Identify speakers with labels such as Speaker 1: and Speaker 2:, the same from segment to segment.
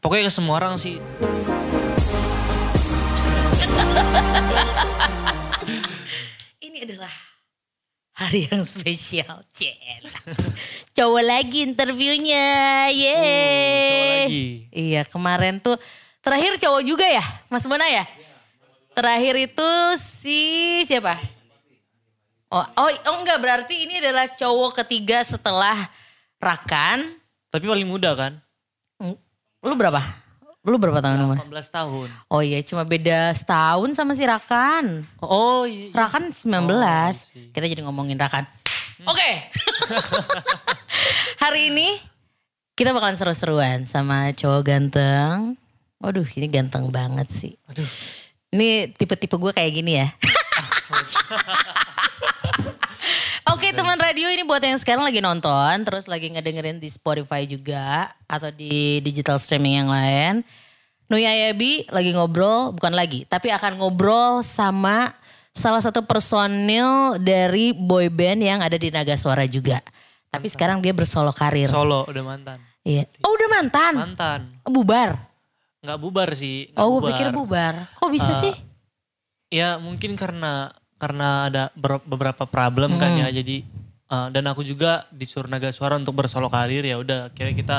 Speaker 1: Pokoknya ke semua orang sih.
Speaker 2: Ini adalah hari yang spesial. Cien. Cowok lagi interviewnya.
Speaker 1: Cowok
Speaker 2: Yeay.
Speaker 1: lagi.
Speaker 2: Iya kemarin tuh terakhir cowok juga ya Mas Bona ya? Terakhir itu si siapa? Oh, oh, oh enggak berarti ini adalah cowok ketiga setelah Rakan.
Speaker 1: Tapi paling muda kan?
Speaker 2: Mm, Lu berapa? Lu berapa tahun umur?
Speaker 1: 18 tahun.
Speaker 2: Oh iya cuma beda setahun sama si Rakan.
Speaker 1: Oh iya. iya.
Speaker 2: Rakan 19.
Speaker 1: Oh, I see. Hmm.
Speaker 2: Kita jadi ngomongin Rakan. Oke. Hari ini kita bakalan seru-seruan sama cowok ganteng. Waduh, ini ganteng banget sih.
Speaker 1: Aduh.
Speaker 2: Ini tipe-tipe gue kayak gini ya. Oke teman radio ini buat yang sekarang lagi nonton, terus lagi ngedengerin di Spotify juga atau di digital streaming yang lain. Nui Ayabi lagi ngobrol, bukan lagi, tapi akan ngobrol sama salah satu personil dari boy band yang ada di Naga Suara juga. Tapi sekarang dia bersolo karir.
Speaker 1: Solo udah mantan.
Speaker 2: Iya. Oh udah mantan?
Speaker 1: Mantan.
Speaker 2: Bubar?
Speaker 1: Nggak bubar sih. nggak
Speaker 2: Oh gue pikir bubar. Kok bisa
Speaker 1: Eh,
Speaker 2: sih?
Speaker 1: Ya mungkin karena karena ada ber- beberapa problem kan
Speaker 2: Hmm.
Speaker 1: ya. Jadi eh, dan aku juga disuruh naga suara untuk bersolo karir ya udah akhirnya kita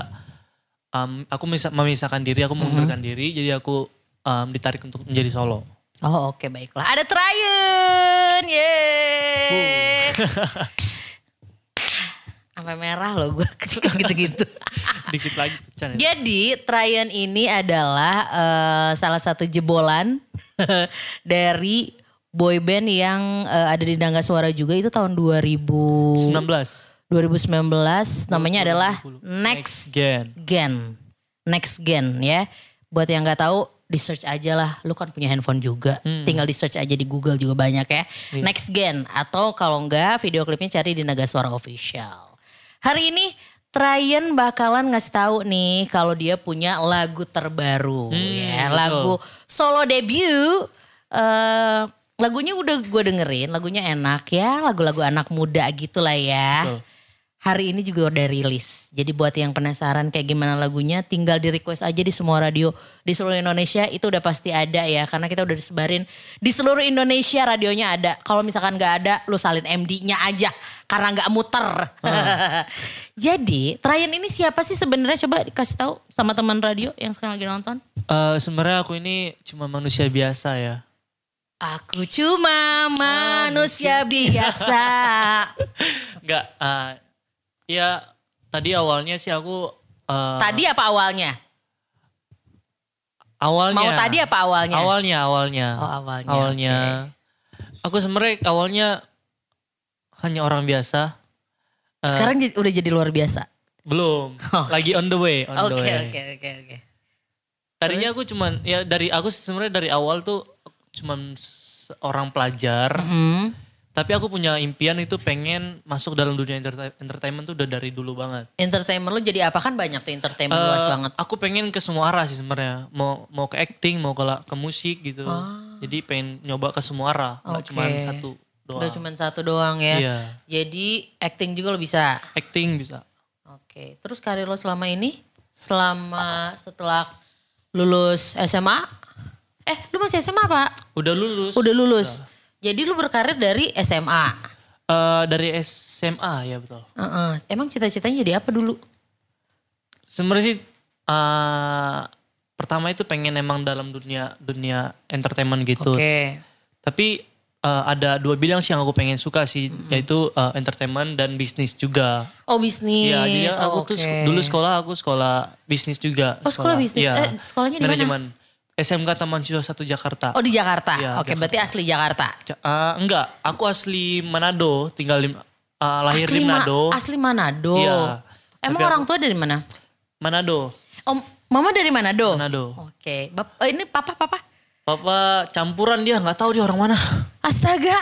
Speaker 1: em, aku misa- memisahkan diri, aku
Speaker 2: Hmm.
Speaker 1: mengundurkan diri jadi aku em, ditarik untuk menjadi solo.
Speaker 2: Oh oke baiklah. Ada Trayun. Yeay. Sampai merah loh gue ketika gitu-gitu.
Speaker 1: Dikit lagi pecah ya.
Speaker 2: Jadi Trayun ini adalah eh, salah satu jebolan dari boy band yang eh, ada di Dangga Suara juga itu tahun 2000,
Speaker 1: 19
Speaker 2: 2019 namanya adalah Next
Speaker 1: gen.
Speaker 2: Gen. Next Gen ya. Buat yang nggak tahu di search aja lah. Lu kan punya handphone juga. Tinggal di search aja di Google juga banyak ya. Next Gen atau kalau enggak video klipnya cari di Naga Suara Official. Hari ini Tryan bakalan ngasih tahu nih kalau dia punya lagu terbaru
Speaker 1: Hmm,
Speaker 2: ya,
Speaker 1: betul.
Speaker 2: lagu solo debut. eh lagunya udah gue dengerin, lagunya enak ya, lagu-lagu anak muda gitulah ya.
Speaker 1: Betul.
Speaker 2: Hari ini juga udah rilis. Jadi buat yang penasaran kayak gimana lagunya tinggal di request aja di semua radio di seluruh Indonesia itu udah pasti ada ya karena kita udah disebarin di seluruh Indonesia radionya ada. Kalau misalkan nggak ada lu salin MD-nya aja karena nggak muter.
Speaker 1: Ah.
Speaker 2: Jadi Trayan ini siapa sih sebenarnya coba dikasih tahu sama teman radio yang sekarang lagi nonton?
Speaker 1: Eh, sebenarnya aku ini cuma manusia biasa ya.
Speaker 2: Aku cuma manusia biasa.
Speaker 1: Enggak eh, ya tadi awalnya sih aku eh,
Speaker 2: Tadi apa awalnya?
Speaker 1: awalnya
Speaker 2: Mau tadi apa awalnya?
Speaker 1: Awalnya, awalnya.
Speaker 2: Oh, awalnya,
Speaker 1: Awalnya. Aku sebenarnya awalnya hanya orang biasa. Eh,
Speaker 2: Sekarang jadi- udah jadi luar biasa.
Speaker 1: belum. Lagi on the way, on the
Speaker 2: Oke
Speaker 1: way.
Speaker 2: oke oke oke.
Speaker 1: Tadinya aku cuman ya dari aku sebenarnya dari awal tuh cuman seorang pelajar,
Speaker 2: Hmm.
Speaker 1: tapi aku punya impian itu pengen masuk dalam dunia entertain- entertainment tuh udah dari dulu banget.
Speaker 2: Entertainment lu jadi apa kan banyak tuh entertainment luas
Speaker 1: Eh,
Speaker 2: banget.
Speaker 1: Aku pengen ke semua arah sih sebenarnya. Mau mau ke acting, mau ke la- ke musik gitu. Jadi pengen nyoba ke semua arah, nggak
Speaker 2: Ah. Oke.
Speaker 1: cuman satu
Speaker 2: Udah
Speaker 1: doang.
Speaker 2: cuma satu doang ya.
Speaker 1: Iya.
Speaker 2: Jadi acting juga lo bisa.
Speaker 1: Acting bisa.
Speaker 2: Oke. Terus karir lo selama ini? Selama setelah lulus SMA? Eh lu masih SMA apa?
Speaker 1: Udah lulus.
Speaker 2: Udah lulus. Jadi lu berkarir dari SMA.
Speaker 1: Eh, dari SMA ya betul.
Speaker 2: Heeh. Emang cita-citanya jadi apa dulu?
Speaker 1: Sebenarnya sih eh, pertama itu pengen emang dalam dunia dunia entertainment gitu.
Speaker 2: Oke.
Speaker 1: Tapi eh, ada dua bidang sih yang aku pengen suka sih yaitu eh, entertainment dan bisnis juga.
Speaker 2: Oh bisnis.
Speaker 1: Iya, jadi aku
Speaker 2: Oh,
Speaker 1: tuh
Speaker 2: oke.
Speaker 1: sek- dulu sekolah aku sekolah bisnis juga.
Speaker 2: Oh, sekolah bisnis.
Speaker 1: Iya.
Speaker 2: Eh, sekolahnya di mana?
Speaker 1: Manajemen. SMK Taman Siswa 1 Jakarta.
Speaker 2: Oh di Jakarta.
Speaker 1: Iya,
Speaker 2: Oke, berarti asli Jakarta.
Speaker 1: Ja- eh, enggak, aku asli Manado, tinggal di eh, lahir di
Speaker 2: asli Ma-
Speaker 1: Manado.
Speaker 2: asli Manado.
Speaker 1: Iya.
Speaker 2: Emang orang tua dari mana?
Speaker 1: Manado,
Speaker 2: Om, mama dari Manado.
Speaker 1: Manado.
Speaker 2: Oke. Bap- eh, ini papa papa.
Speaker 1: Papa campuran dia nggak tahu dia orang mana.
Speaker 2: Astaga,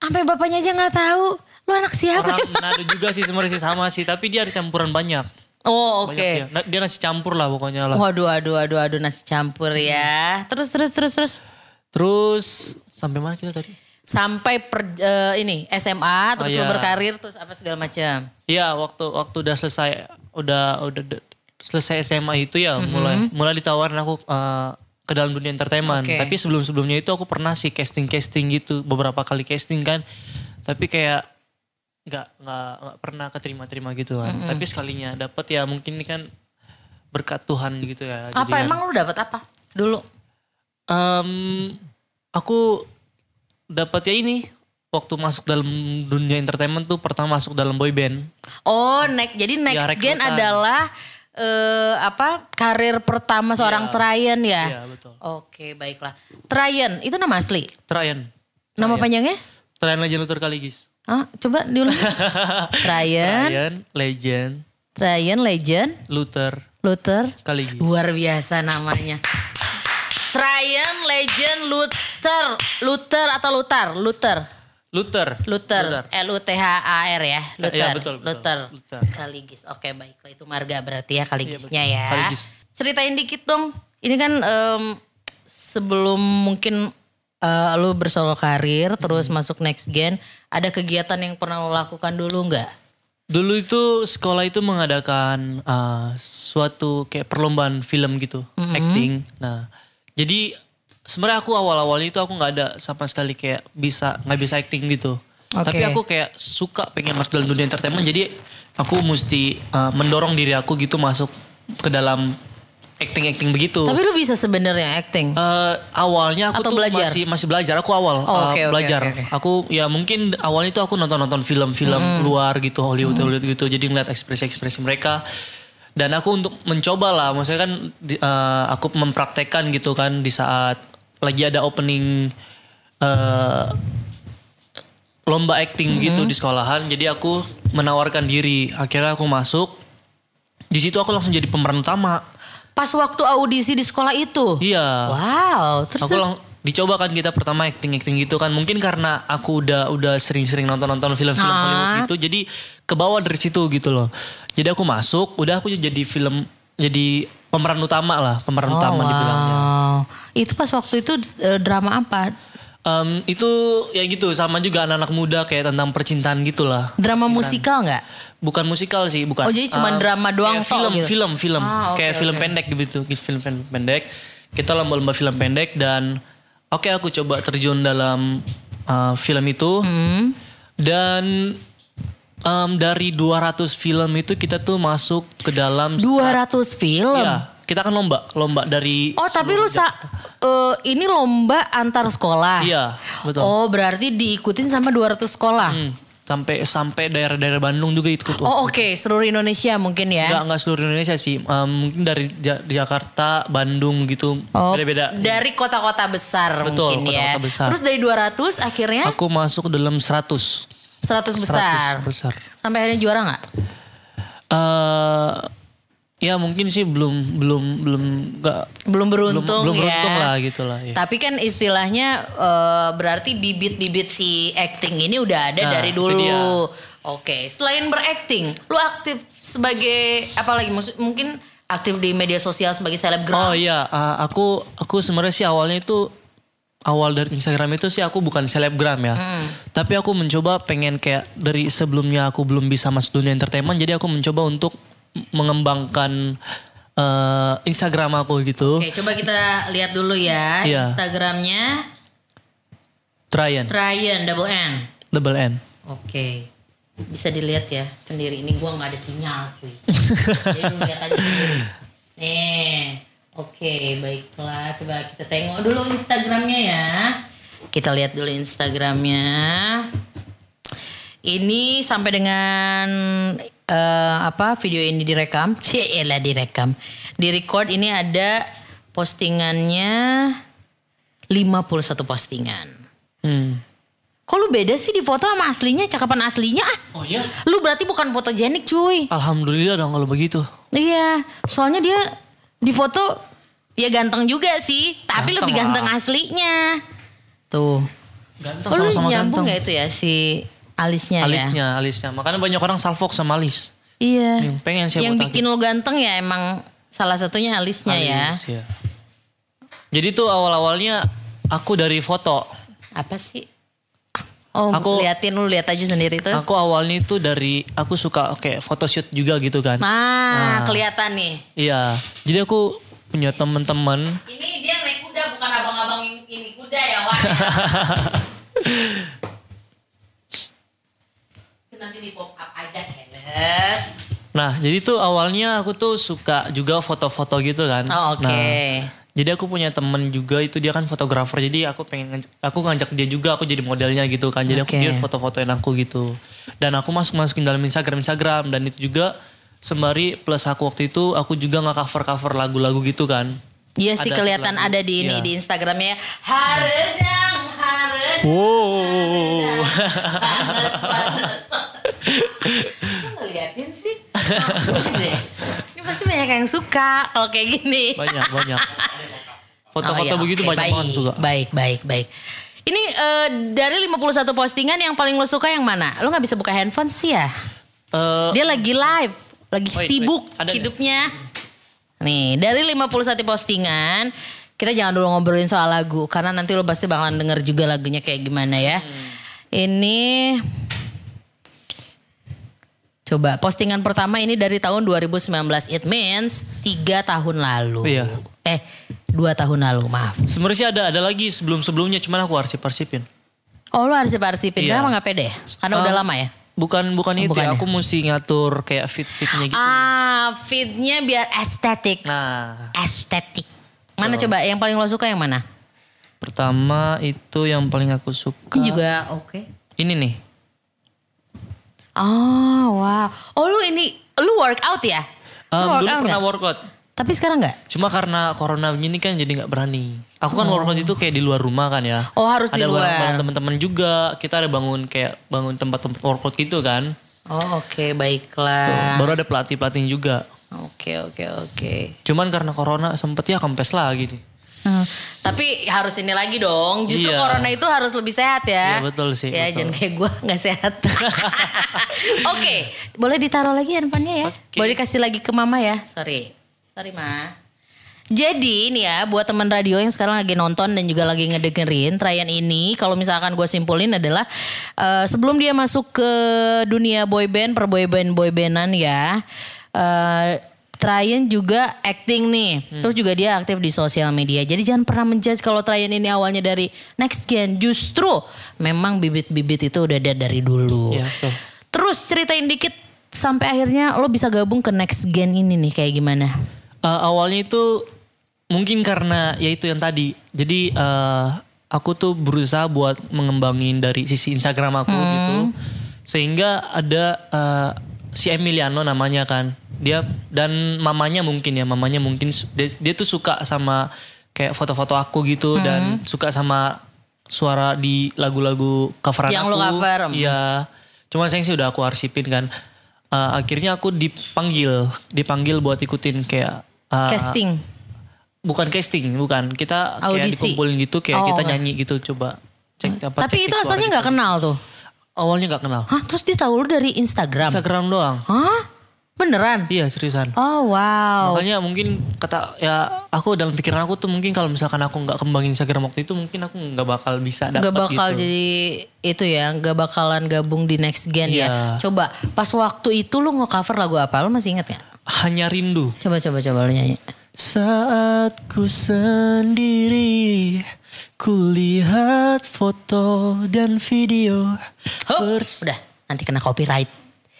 Speaker 2: sampai bapaknya aja nggak tahu. Lu anak siapa?
Speaker 1: Orang Manado juga sih sebenarnya sih sama sih, tapi dia ada campuran banyak.
Speaker 2: Oh, oke.
Speaker 1: Banyak dia. Na- dia. nasi campur lah pokoknya lah.
Speaker 2: Waduh, aduh, aduh, aduh, nasi campur ya. Terus, terus, terus, terus.
Speaker 1: Terus sampai mana kita tadi?
Speaker 2: Sampai per- eh, ini SMA, terus
Speaker 1: Oh,
Speaker 2: lu
Speaker 1: iya.
Speaker 2: berkarir, terus apa segala macam.
Speaker 1: Iya, waktu waktu udah selesai udah udah de- selesai SMA itu
Speaker 2: Mm-hmm.
Speaker 1: ya mulai mulai ditawarin aku eh, ke dalam dunia entertainment.
Speaker 2: Oke.
Speaker 1: Tapi sebelum-sebelumnya itu aku pernah sih casting-casting gitu, beberapa kali casting kan. Tapi kayak nggak nggak nggak pernah keterima-terima gitu kan. Tapi sekalinya dapat ya mungkin ini kan berkat Tuhan gitu ya. Jadi
Speaker 2: Apa
Speaker 1: kan,
Speaker 2: emang lu dapat apa dulu?
Speaker 1: em, aku dapat ya ini waktu masuk dalam dunia entertainment tuh pertama masuk dalam boy band.
Speaker 2: Oh, next. Jadi next
Speaker 1: Iya, rekrutan.
Speaker 2: gen adalah eh apa karir pertama seorang Tryan ya.
Speaker 1: Iya betul.
Speaker 2: Oke, baiklah. Tryan itu nama asli.
Speaker 1: Tryan.
Speaker 2: Nama panjangnya?
Speaker 1: Tryan Legend Luthor Kaligis.
Speaker 2: Ah, coba diulang. Tryan,
Speaker 1: Tryan Legend
Speaker 2: Tryan Legend,
Speaker 1: Luther
Speaker 2: Luther.
Speaker 1: Kaligis.
Speaker 2: Luar biasa namanya. Tryan Legend Luther, Luther atau Lutar, Luther.
Speaker 1: Luther.
Speaker 2: Luther, L U T H A R ya, Luther.
Speaker 1: Iya, betul, betul.
Speaker 2: Luther.
Speaker 1: Luther.
Speaker 2: Kaligis. Oke, baiklah itu marga berarti ya
Speaker 1: Iya,
Speaker 2: Kaligisnya ya.
Speaker 1: betul. Kaligis.
Speaker 2: Ceritain dikit dong. Ini kan em, sebelum mungkin eh, lu bersolo karir terus
Speaker 1: Hmm.
Speaker 2: masuk next gen, ada kegiatan yang pernah lu lakukan dulu nggak?
Speaker 1: Dulu itu sekolah itu mengadakan uh, suatu kayak perlombaan film gitu, acting. Nah, jadi sebenarnya aku awal-awalnya itu aku nggak ada sama sekali kayak bisa nggak bisa acting gitu.
Speaker 2: Oke.
Speaker 1: Tapi aku kayak suka pengen masuk dalam dunia entertainment. Jadi aku mesti uh, mendorong diri aku gitu masuk ke dalam acting-acting begitu.
Speaker 2: Tapi lu bisa sebenarnya acting.
Speaker 1: Eh, awalnya aku
Speaker 2: Atau
Speaker 1: tuh
Speaker 2: belajar?
Speaker 1: masih masih belajar. Aku awal
Speaker 2: Oh,
Speaker 1: eh,
Speaker 2: oke, oke,
Speaker 1: belajar.
Speaker 2: oke, oke.
Speaker 1: Aku ya mungkin awalnya itu aku nonton-nonton film-film luar gitu Hollywood Hollywood gitu. Jadi ngeliat ekspresi-ekspresi mereka. Dan aku untuk mencoba lah, maksudnya kan di- eh, aku mempraktekkan gitu kan di saat lagi ada opening eh, lomba acting gitu di sekolahan. Jadi aku menawarkan diri. Akhirnya aku masuk. Di situ aku langsung jadi pemeran utama.
Speaker 2: Pas waktu audisi di sekolah itu.
Speaker 1: Iya.
Speaker 2: Wow, terus
Speaker 1: aku lang dicoba kan kita pertama acting acting gitu kan mungkin karena aku udah udah sering-sering nonton-nonton film-film
Speaker 2: Ah.
Speaker 1: Hollywood gitu jadi ke bawah dari situ gitu loh jadi aku masuk udah aku jadi film jadi pemeran utama lah pemeran utama dibilangnya
Speaker 2: Oh, wow. Oh, Itu pas waktu itu eh, drama apa?
Speaker 1: Em, itu ya gitu sama juga anak-anak muda kayak tentang percintaan gitulah
Speaker 2: Drama musikal nggak?
Speaker 1: bukan musikal sih bukan
Speaker 2: Oh, jadi cuman
Speaker 1: Eh,
Speaker 2: drama doang
Speaker 1: kayak
Speaker 2: tok
Speaker 1: film
Speaker 2: gitu?
Speaker 1: film film
Speaker 2: Ah, oke,
Speaker 1: kayak film pendek gitu gitu, film pen- pendek kita lomba-lomba film pendek dan oke aku coba terjun dalam eh, film itu
Speaker 2: Hmm.
Speaker 1: dan em, dari 200 film itu kita tuh masuk ke dalam
Speaker 2: 200 film.
Speaker 1: ya kita kan lomba lomba dari
Speaker 2: Oh tapi lu sa eh, ini lomba antar sekolah.
Speaker 1: iya betul
Speaker 2: Oh berarti diikutin sama 200 sekolah.
Speaker 1: Hmm, sampai sampai daerah-daerah Bandung juga ikut tuh.
Speaker 2: Oh oke seluruh Indonesia mungkin ya.
Speaker 1: Enggak, enggak seluruh Indonesia sih. Em, mungkin dari Ja- Jakarta, Bandung gitu.
Speaker 2: Oh,
Speaker 1: Beda-beda.
Speaker 2: Dari kota-kota besar
Speaker 1: Betul,
Speaker 2: mungkin ya.
Speaker 1: kota-kota besar.
Speaker 2: Terus dari 200 akhirnya
Speaker 1: Aku masuk dalam 100.
Speaker 2: 100 Eh? besar.
Speaker 1: 100 besar.
Speaker 2: Sampai akhirnya juara nggak?
Speaker 1: Eh, ya mungkin sih belum belum belum enggak
Speaker 2: Belum
Speaker 1: belum
Speaker 2: beruntung
Speaker 1: belum
Speaker 2: ya.
Speaker 1: beruntung lah gitu lah ya.
Speaker 2: Tapi kan istilahnya eh, berarti bibit-bibit si acting ini udah ada
Speaker 1: Nah,
Speaker 2: dari
Speaker 1: itu dia.
Speaker 2: dulu. Oke, selain beracting, lu aktif sebagai apa lagi? Maksud- Mungkin aktif di media sosial sebagai
Speaker 1: Oh
Speaker 2: selebgram.
Speaker 1: iya, eh, aku aku sebenarnya sih awalnya itu awal dari Instagram itu sih aku bukan selebgram ya.
Speaker 2: Hmm.
Speaker 1: Tapi aku mencoba pengen kayak dari sebelumnya aku belum bisa masuk dunia entertainment jadi aku mencoba untuk mengembangkan eh, Instagram aku gitu.
Speaker 2: Oke, coba kita lihat dulu ya
Speaker 1: Iya.
Speaker 2: Instagramnya
Speaker 1: Tryan,
Speaker 2: Tryan double N.
Speaker 1: double N.
Speaker 2: Oke, bisa dilihat ya sendiri. Ini gua nggak ada sinyal cuy. Jadi lu lihat aja sendiri. Nih, oke baiklah. Coba kita tengok dulu Instagramnya ya. Kita lihat dulu Instagramnya. Ini sampai dengan eh, apa video ini direkam? Cielah direkam. Di record ini ada postingannya 51 postingan.
Speaker 1: Hmm.
Speaker 2: Kok lu beda sih di foto sama aslinya, cakapan aslinya? ah?
Speaker 1: Oh iya.
Speaker 2: Lu berarti bukan fotogenik cuy.
Speaker 1: Alhamdulillah dong kalau begitu.
Speaker 2: Iya, soalnya dia di foto ya ganteng juga sih,
Speaker 1: Ganteng
Speaker 2: tapi lebih ganteng
Speaker 1: lah.
Speaker 2: aslinya. Tuh.
Speaker 1: Ganteng
Speaker 2: Oh, lu
Speaker 1: sama-sama ganteng.
Speaker 2: nyambung nggak itu ya si alisnya, ya?
Speaker 1: Alisnya, alisnya. Makanya banyak orang salfok sama alis.
Speaker 2: Iya.
Speaker 1: Yang pengen saya
Speaker 2: Yang
Speaker 1: botakin.
Speaker 2: bikin lu ganteng ya emang salah satunya alisnya ya.
Speaker 1: Alis, ya. Jadi tuh awal-awalnya aku dari foto.
Speaker 2: Apa sih? Oh,
Speaker 1: Aku-
Speaker 2: liatin lu lihat aja sendiri terus.
Speaker 1: Aku awalnya itu dari aku suka kayak photoshoot juga gitu kan.
Speaker 2: nah, kelihatan nih.
Speaker 1: Iya. Jadi aku punya temen-temen.
Speaker 2: Ini dia naik kuda bukan abang-abang yang ini kuda ya, Wan. Itu Nanti di pop up aja, Keles.
Speaker 1: Nah, jadi tuh awalnya aku tuh suka juga foto-foto gitu kan.
Speaker 2: Oh, oke.
Speaker 1: Nah, jadi aku punya temen juga itu dia kan fotografer. Jadi aku pengen ngajak- aku ngajak dia juga aku jadi modelnya gitu kan. Jadi aku
Speaker 2: Oke.
Speaker 1: dia foto-fotoin aku gitu. Dan aku masuk-masukin dalam Instagram Instagram dan itu juga sembari plus aku waktu itu aku juga nggak cover-cover lagu-lagu gitu kan.
Speaker 2: Iya sih
Speaker 1: Ada
Speaker 2: kelihatan
Speaker 1: lagu.
Speaker 2: ada di ini
Speaker 1: Iya.
Speaker 2: di Instagramnya Haredang, Haredang.
Speaker 1: Wow.
Speaker 2: Panas, panas, panas. Kok ngeliatin sih? Ampun deh. Ini pasti banyak yang suka kalau kayak gini.
Speaker 1: Banyak, banyak.
Speaker 2: Oh,
Speaker 1: Foto-foto
Speaker 2: iya,
Speaker 1: begitu
Speaker 2: oke,
Speaker 1: banyak
Speaker 2: baik,
Speaker 1: banget juga.
Speaker 2: Baik, baik, baik. Ini eh, dari 51 postingan yang paling lo suka yang mana? Lo nggak bisa buka handphone sih ya?
Speaker 1: Eh,
Speaker 2: Dia lagi live, lagi
Speaker 1: Wait, wait,
Speaker 2: sibuk
Speaker 1: ada nggak?
Speaker 2: hidupnya. Nih, dari 51 postingan, kita jangan dulu ngobrolin soal lagu karena nanti lo pasti bakalan denger juga lagunya kayak gimana ya.
Speaker 1: Hmm.
Speaker 2: Ini Coba postingan pertama ini dari tahun 2019. It means 3 tahun lalu.
Speaker 1: Iya.
Speaker 2: Eh, 2 tahun lalu, maaf.
Speaker 1: Sebenarnya sih ada ada lagi sebelum-sebelumnya cuman aku arsip-arsipin.
Speaker 2: Oh, lo harus arsipin.
Speaker 1: Iya.
Speaker 2: Kenapa nggak pede? ya? Karena udah
Speaker 1: Um,
Speaker 2: lama ya?
Speaker 1: Bukan bukan itu,
Speaker 2: bukan
Speaker 1: ya.
Speaker 2: ya?
Speaker 1: aku mesti ngatur kayak fit-fitnya gitu.
Speaker 2: Ah, feednya biar estetik.
Speaker 1: Nah,
Speaker 2: Estetik. Mana coba yang paling lo suka yang mana?
Speaker 1: pertama itu yang paling aku suka.
Speaker 2: Ini juga oke.
Speaker 1: Ini nih.
Speaker 2: Oh, wow. Oh, lu ini lu workout ya? Lu
Speaker 1: Um, dulu
Speaker 2: workout
Speaker 1: pernah
Speaker 2: nggak?
Speaker 1: workout.
Speaker 2: Tapi sekarang nggak?
Speaker 1: Cuma karena corona ini kan jadi nggak berani. Aku kan workout itu kayak di luar rumah kan ya.
Speaker 2: Oh, harus di
Speaker 1: ada
Speaker 2: luar.
Speaker 1: bareng teman-teman juga. Kita ada bangun kayak bangun tempat-tempat workout gitu kan.
Speaker 2: Oh, oke,
Speaker 1: Tuh,
Speaker 2: baiklah.
Speaker 1: Baru ada pelatih-pelatih juga.
Speaker 2: Oke, oke, oke.
Speaker 1: Cuman karena corona sempet ya kempes lagi nih.
Speaker 2: Hmm, Tapi harus ini lagi dong. Justru
Speaker 1: Iya.
Speaker 2: corona itu harus lebih sehat
Speaker 1: Iya,
Speaker 2: ya.
Speaker 1: betul sih, betul.
Speaker 2: Ya jangan kayak gue nggak sehat. Oke, boleh ditaruh lagi handphonenya ya.
Speaker 1: Oke.
Speaker 2: Boleh dikasih lagi ke mama ya. Sorry, sorry ma. Jadi ini ya buat teman radio yang sekarang lagi nonton dan juga lagi ngedengerin Trayan ini kalau misalkan gue simpulin adalah eh, sebelum dia masuk ke dunia boyband per boyband boybandan ya eh Trayan juga acting nih. Terus juga dia aktif di sosial media. Jadi jangan pernah menjudge kalau Trayan ini awalnya dari next gen. Justru memang bibit-bibit itu udah ada dari dulu.
Speaker 1: Iya, betul.
Speaker 2: Terus ceritain dikit sampai akhirnya lo bisa gabung ke next gen ini nih kayak gimana?
Speaker 1: Eh, awalnya itu mungkin karena ya itu yang tadi. Jadi eh, aku tuh berusaha buat mengembangin dari sisi Instagram aku
Speaker 2: Hmm.
Speaker 1: gitu. Sehingga ada eh, si Emiliano namanya kan. Dia dan mamanya mungkin ya, mamanya mungkin su- dia, dia tuh suka sama kayak foto-foto aku gitu dan
Speaker 2: Hmm.
Speaker 1: suka sama suara di lagu-lagu coveran
Speaker 2: Yang
Speaker 1: aku.
Speaker 2: lo cover, hmm.
Speaker 1: Iya. Cuman sayang sih udah aku arsipin kan. Eh, akhirnya aku dipanggil, dipanggil buat ikutin kayak eh,
Speaker 2: Casting.
Speaker 1: bukan casting, bukan. Kita kayak
Speaker 2: Audisi.
Speaker 1: dikumpulin gitu kayak
Speaker 2: Oh,
Speaker 1: kita
Speaker 2: oke.
Speaker 1: nyanyi gitu coba cek apa
Speaker 2: Tapi itu asalnya nggak kenal tuh.
Speaker 1: awalnya nggak kenal.
Speaker 2: Hah, terus dia tahu lu dari Instagram.
Speaker 1: Instagram doang.
Speaker 2: Hah? Beneran?
Speaker 1: Iya, seriusan.
Speaker 2: Oh wow.
Speaker 1: Makanya mungkin kata ya aku dalam pikiran aku tuh mungkin kalau misalkan aku nggak kembangin Instagram waktu itu mungkin aku nggak bakal bisa dapat
Speaker 2: Gak bakal
Speaker 1: gitu.
Speaker 2: jadi itu ya, gak bakalan gabung di next gen
Speaker 1: Iya.
Speaker 2: ya. Coba pas waktu itu lu nge-cover lagu apa? Lu masih inget gak?
Speaker 1: Hanya rindu.
Speaker 2: Coba coba coba lu nyanyi.
Speaker 1: Saat ku sendiri Kulihat foto dan video
Speaker 2: Hup,
Speaker 1: Pers-
Speaker 2: udah nanti kena copyright.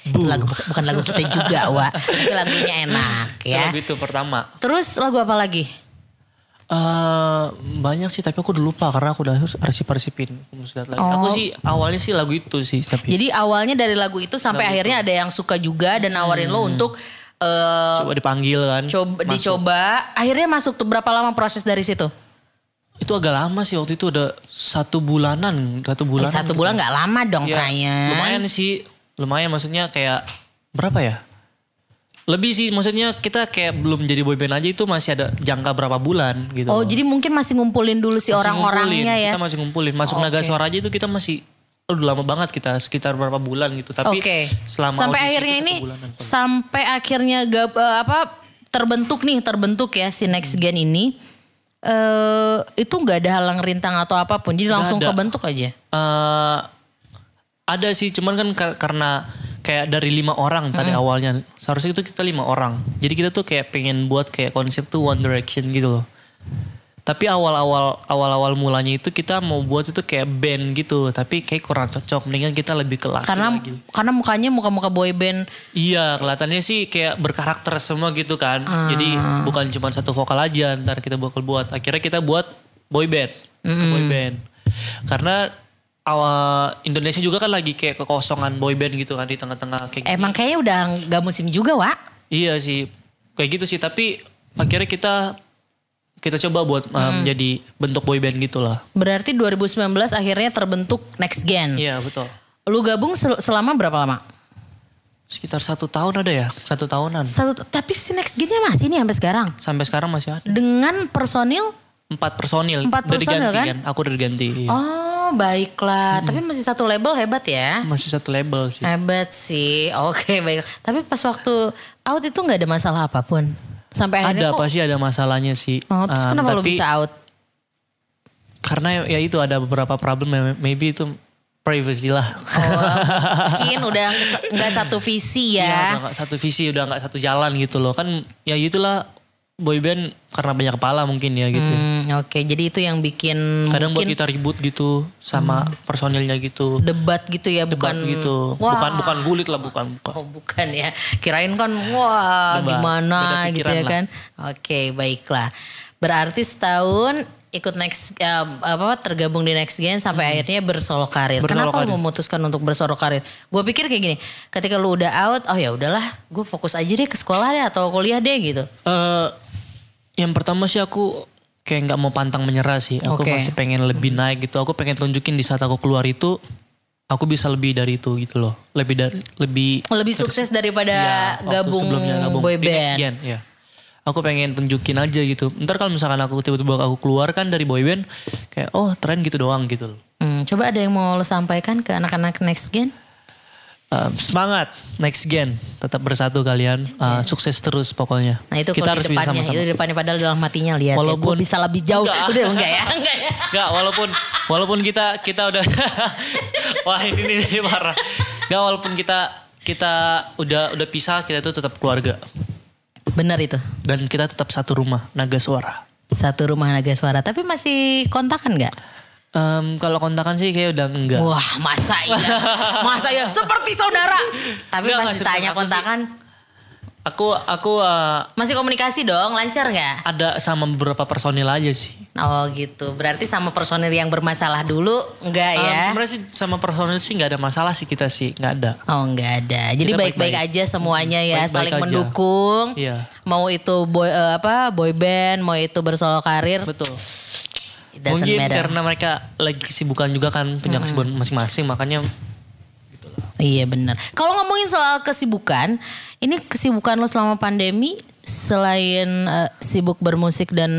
Speaker 2: Itu lagu bu- bukan lagu kita juga, Wak. Tapi lagunya enak
Speaker 1: Itu
Speaker 2: ya.
Speaker 1: lagu itu pertama
Speaker 2: Terus lagu apa lagi?
Speaker 1: Eh, banyak sih tapi aku udah lupa karena aku udah harus arsip-arsipin aku mesti lihat lagi. Aku
Speaker 2: Oh.
Speaker 1: sih awalnya sih lagu itu sih tapi
Speaker 2: Jadi awalnya dari lagu itu sampai akhirnya ada yang suka juga dan nawarin
Speaker 1: Hmm.
Speaker 2: lo untuk eh,
Speaker 1: coba dipanggil kan.
Speaker 2: coba
Speaker 1: Mas-
Speaker 2: dicoba. Akhirnya masuk tuh berapa lama proses dari situ?
Speaker 1: itu agak lama sih waktu itu udah satu bulanan, satu
Speaker 2: Eh,
Speaker 1: bulan.
Speaker 2: satu bulan nggak lama dong
Speaker 1: Ya,
Speaker 2: Trayan.
Speaker 1: gitu. Lumayan sih, lumayan maksudnya kayak berapa ya? Lebih sih maksudnya kita kayak belum jadi boyband aja itu masih ada jangka berapa bulan gitu.
Speaker 2: Oh, jadi mungkin masih ngumpulin dulu si
Speaker 1: Masih
Speaker 2: orang-orangnya
Speaker 1: ngumpulin, gitu,
Speaker 2: ya.
Speaker 1: Kita masih ngumpulin. Masuk
Speaker 2: Oke.
Speaker 1: naga suara aja itu kita masih udah lama banget kita sekitar berapa bulan gitu. Tapi
Speaker 2: Oke.
Speaker 1: selama
Speaker 2: Sampai
Speaker 1: audisi
Speaker 2: akhirnya
Speaker 1: itu
Speaker 2: ini
Speaker 1: satu bulanan.
Speaker 2: sampai akhirnya gab- eh, apa terbentuk nih, terbentuk ya si
Speaker 1: Hmm.
Speaker 2: Next Gen ini. Eh itu nggak ada halang rintang atau apapun. Jadi langsung
Speaker 1: ada.
Speaker 2: kebentuk aja.
Speaker 1: Eh, ada sih cuman kan kar- karena kayak dari lima orang tadi awalnya seharusnya itu kita lima orang jadi kita tuh kayak pengen buat kayak konsep tuh One Direction gitu loh tapi awal-awal awal-awal mulanya itu kita mau buat itu kayak band gitu tapi kayak kurang cocok mendingan kita lebih ke laki
Speaker 2: Karena
Speaker 1: lagi.
Speaker 2: karena mukanya muka-muka boy band.
Speaker 1: Iya, kelihatannya sih kayak berkarakter semua gitu kan. Jadi
Speaker 2: Ah.
Speaker 1: bukan cuma satu vokal aja ntar kita bakal buat. Akhirnya kita buat boy band. Boy band. Karena awal Indonesia juga kan lagi kayak kekosongan boy band gitu kan di tengah-tengah kayak
Speaker 2: Emang kayaknya udah nggak musim juga, Wak.
Speaker 1: Iya sih, kayak gitu sih. Tapi akhirnya kita kita coba buat uh, menjadi bentuk boy band gitu gitulah.
Speaker 2: Berarti 2019 akhirnya terbentuk Next Gen.
Speaker 1: Iya betul.
Speaker 2: Lu gabung sel- selama berapa lama?
Speaker 1: Sekitar satu tahun ada ya, satu tahunan.
Speaker 2: Satu, tapi si Next Gen-nya masih nih sampai sekarang.
Speaker 1: Sampai sekarang masih ada
Speaker 2: Dengan personil?
Speaker 1: empat personil.
Speaker 2: Empat
Speaker 1: Udah
Speaker 2: personil
Speaker 1: diganti
Speaker 2: kan?
Speaker 1: Aku udah diganti. iya. Hmm.
Speaker 2: Oh baiklah. Tapi masih satu label hebat ya.
Speaker 1: Masih satu label sih.
Speaker 2: Hebat sih. Oke baik. Tapi pas waktu out itu nggak ada masalah apapun. Sampai
Speaker 1: ada
Speaker 2: akhirnya kok.
Speaker 1: pasti ada masalahnya sih.
Speaker 2: Oh, terus
Speaker 1: Um,
Speaker 2: kenapa lu
Speaker 1: tapi
Speaker 2: bisa out?
Speaker 1: karena ya itu ada beberapa problem may- maybe itu privacy lah.
Speaker 2: Oh, mungkin udah nggak satu visi
Speaker 1: Iya,
Speaker 2: ya.
Speaker 1: udah nggak satu visi, udah nggak satu jalan gitu loh. Kan ya itulah boyband karena banyak kepala mungkin ya gitu.
Speaker 2: Hmm, Oke, jadi itu yang bikin
Speaker 1: Kadang buat kita ribut gitu sama personilnya gitu.
Speaker 2: debat gitu ya, bukan
Speaker 1: Bukan gitu.
Speaker 2: Wah.
Speaker 1: Bukan bukan gulit lah, bukan bukan.
Speaker 2: Oh bukan ya, kirain kan wah
Speaker 1: Debat,
Speaker 2: gimana
Speaker 1: beda
Speaker 2: gitu
Speaker 1: pikiran
Speaker 2: ya
Speaker 1: lah.
Speaker 2: kan. Oke baiklah. Berarti setahun ikut next eh, apa tergabung di next gen sampai akhirnya bersolo karir.
Speaker 1: Hmm. Bersolo
Speaker 2: Kenapa
Speaker 1: karir.
Speaker 2: lu memutuskan untuk bersolo karir? Gue pikir kayak gini, ketika lu udah out, oh ya udahlah, gue fokus aja deh ke sekolah deh atau kuliah deh gitu.
Speaker 1: Eh, yang pertama sih aku kayak nggak mau pantang menyerah sih. Aku
Speaker 2: Oke.
Speaker 1: masih pengen lebih naik gitu. Aku pengen tunjukin di saat aku keluar itu aku bisa lebih dari itu gitu loh. Lebih dari lebih
Speaker 2: Lebih sukses daripada
Speaker 1: iya, waktu
Speaker 2: Oh, gabung,
Speaker 1: sebelumnya gabung
Speaker 2: boy
Speaker 1: di Next
Speaker 2: band.
Speaker 1: Gen, ya. Aku pengen tunjukin aja gitu. Ntar kalau misalkan aku tiba-tiba aku keluar kan dari boy band kayak oh tren gitu doang gitu loh.
Speaker 2: Hmm, coba ada yang mau lu sampaikan ke anak-anak next gen?
Speaker 1: Um, semangat next gen tetap bersatu kalian Uh, sukses terus pokoknya
Speaker 2: Nah itu
Speaker 1: kita
Speaker 2: kalau
Speaker 1: harus
Speaker 2: di
Speaker 1: bisa
Speaker 2: depannya,
Speaker 1: sama-sama
Speaker 2: itu di depannya padahal dalam hatinya lihat. Walaupun
Speaker 1: Walaupun-
Speaker 2: bisa lebih jauh,
Speaker 1: Enggak.
Speaker 2: udah enggak ya, enggak ya.
Speaker 1: Enggak, walaupun walaupun kita kita udah wah ini nih parah. Enggak, walaupun kita kita udah udah pisah, kita tuh tetap keluarga
Speaker 2: Bener itu.
Speaker 1: dan kita tetap satu rumah naga suara.
Speaker 2: Satu rumah naga suara, tapi masih kontakan nggak?
Speaker 1: Em, kalau kontakan sih kayak udah enggak.
Speaker 2: Wah masa iya, masa iya, seperti saudara. Tapi
Speaker 1: Enggak,
Speaker 2: pas
Speaker 1: enggak,
Speaker 2: ditanya
Speaker 1: aku sih-
Speaker 2: kontakan,
Speaker 1: Aku aku eh,
Speaker 2: masih komunikasi dong, lancar nggak?
Speaker 1: ada sama beberapa personil aja sih.
Speaker 2: Oh gitu, berarti sama personil yang bermasalah dulu enggak
Speaker 1: Em,
Speaker 2: ya?
Speaker 1: Ah, Sebenarnya sih sama personil sih nggak ada masalah sih kita sih, nggak ada.
Speaker 2: Oh enggak ada. Jadi
Speaker 1: Kita
Speaker 2: baik-baik
Speaker 1: baik-baik.
Speaker 2: aja semuanya ya,
Speaker 1: Baik-baik
Speaker 2: saling
Speaker 1: aja.
Speaker 2: mendukung.
Speaker 1: Iya.
Speaker 2: Mau itu boy eh, apa boy band, mau itu bersolo karir,
Speaker 1: Betul.
Speaker 2: it doesn't
Speaker 1: Mungkin
Speaker 2: matter. Hmm.
Speaker 1: karena mereka lagi kesibukan juga kan punya kesibukan masing-masing, makanya
Speaker 2: Iya benar. Kalau ngomongin soal kesibukan, ini kesibukan lo selama pandemi selain eh, sibuk bermusik dan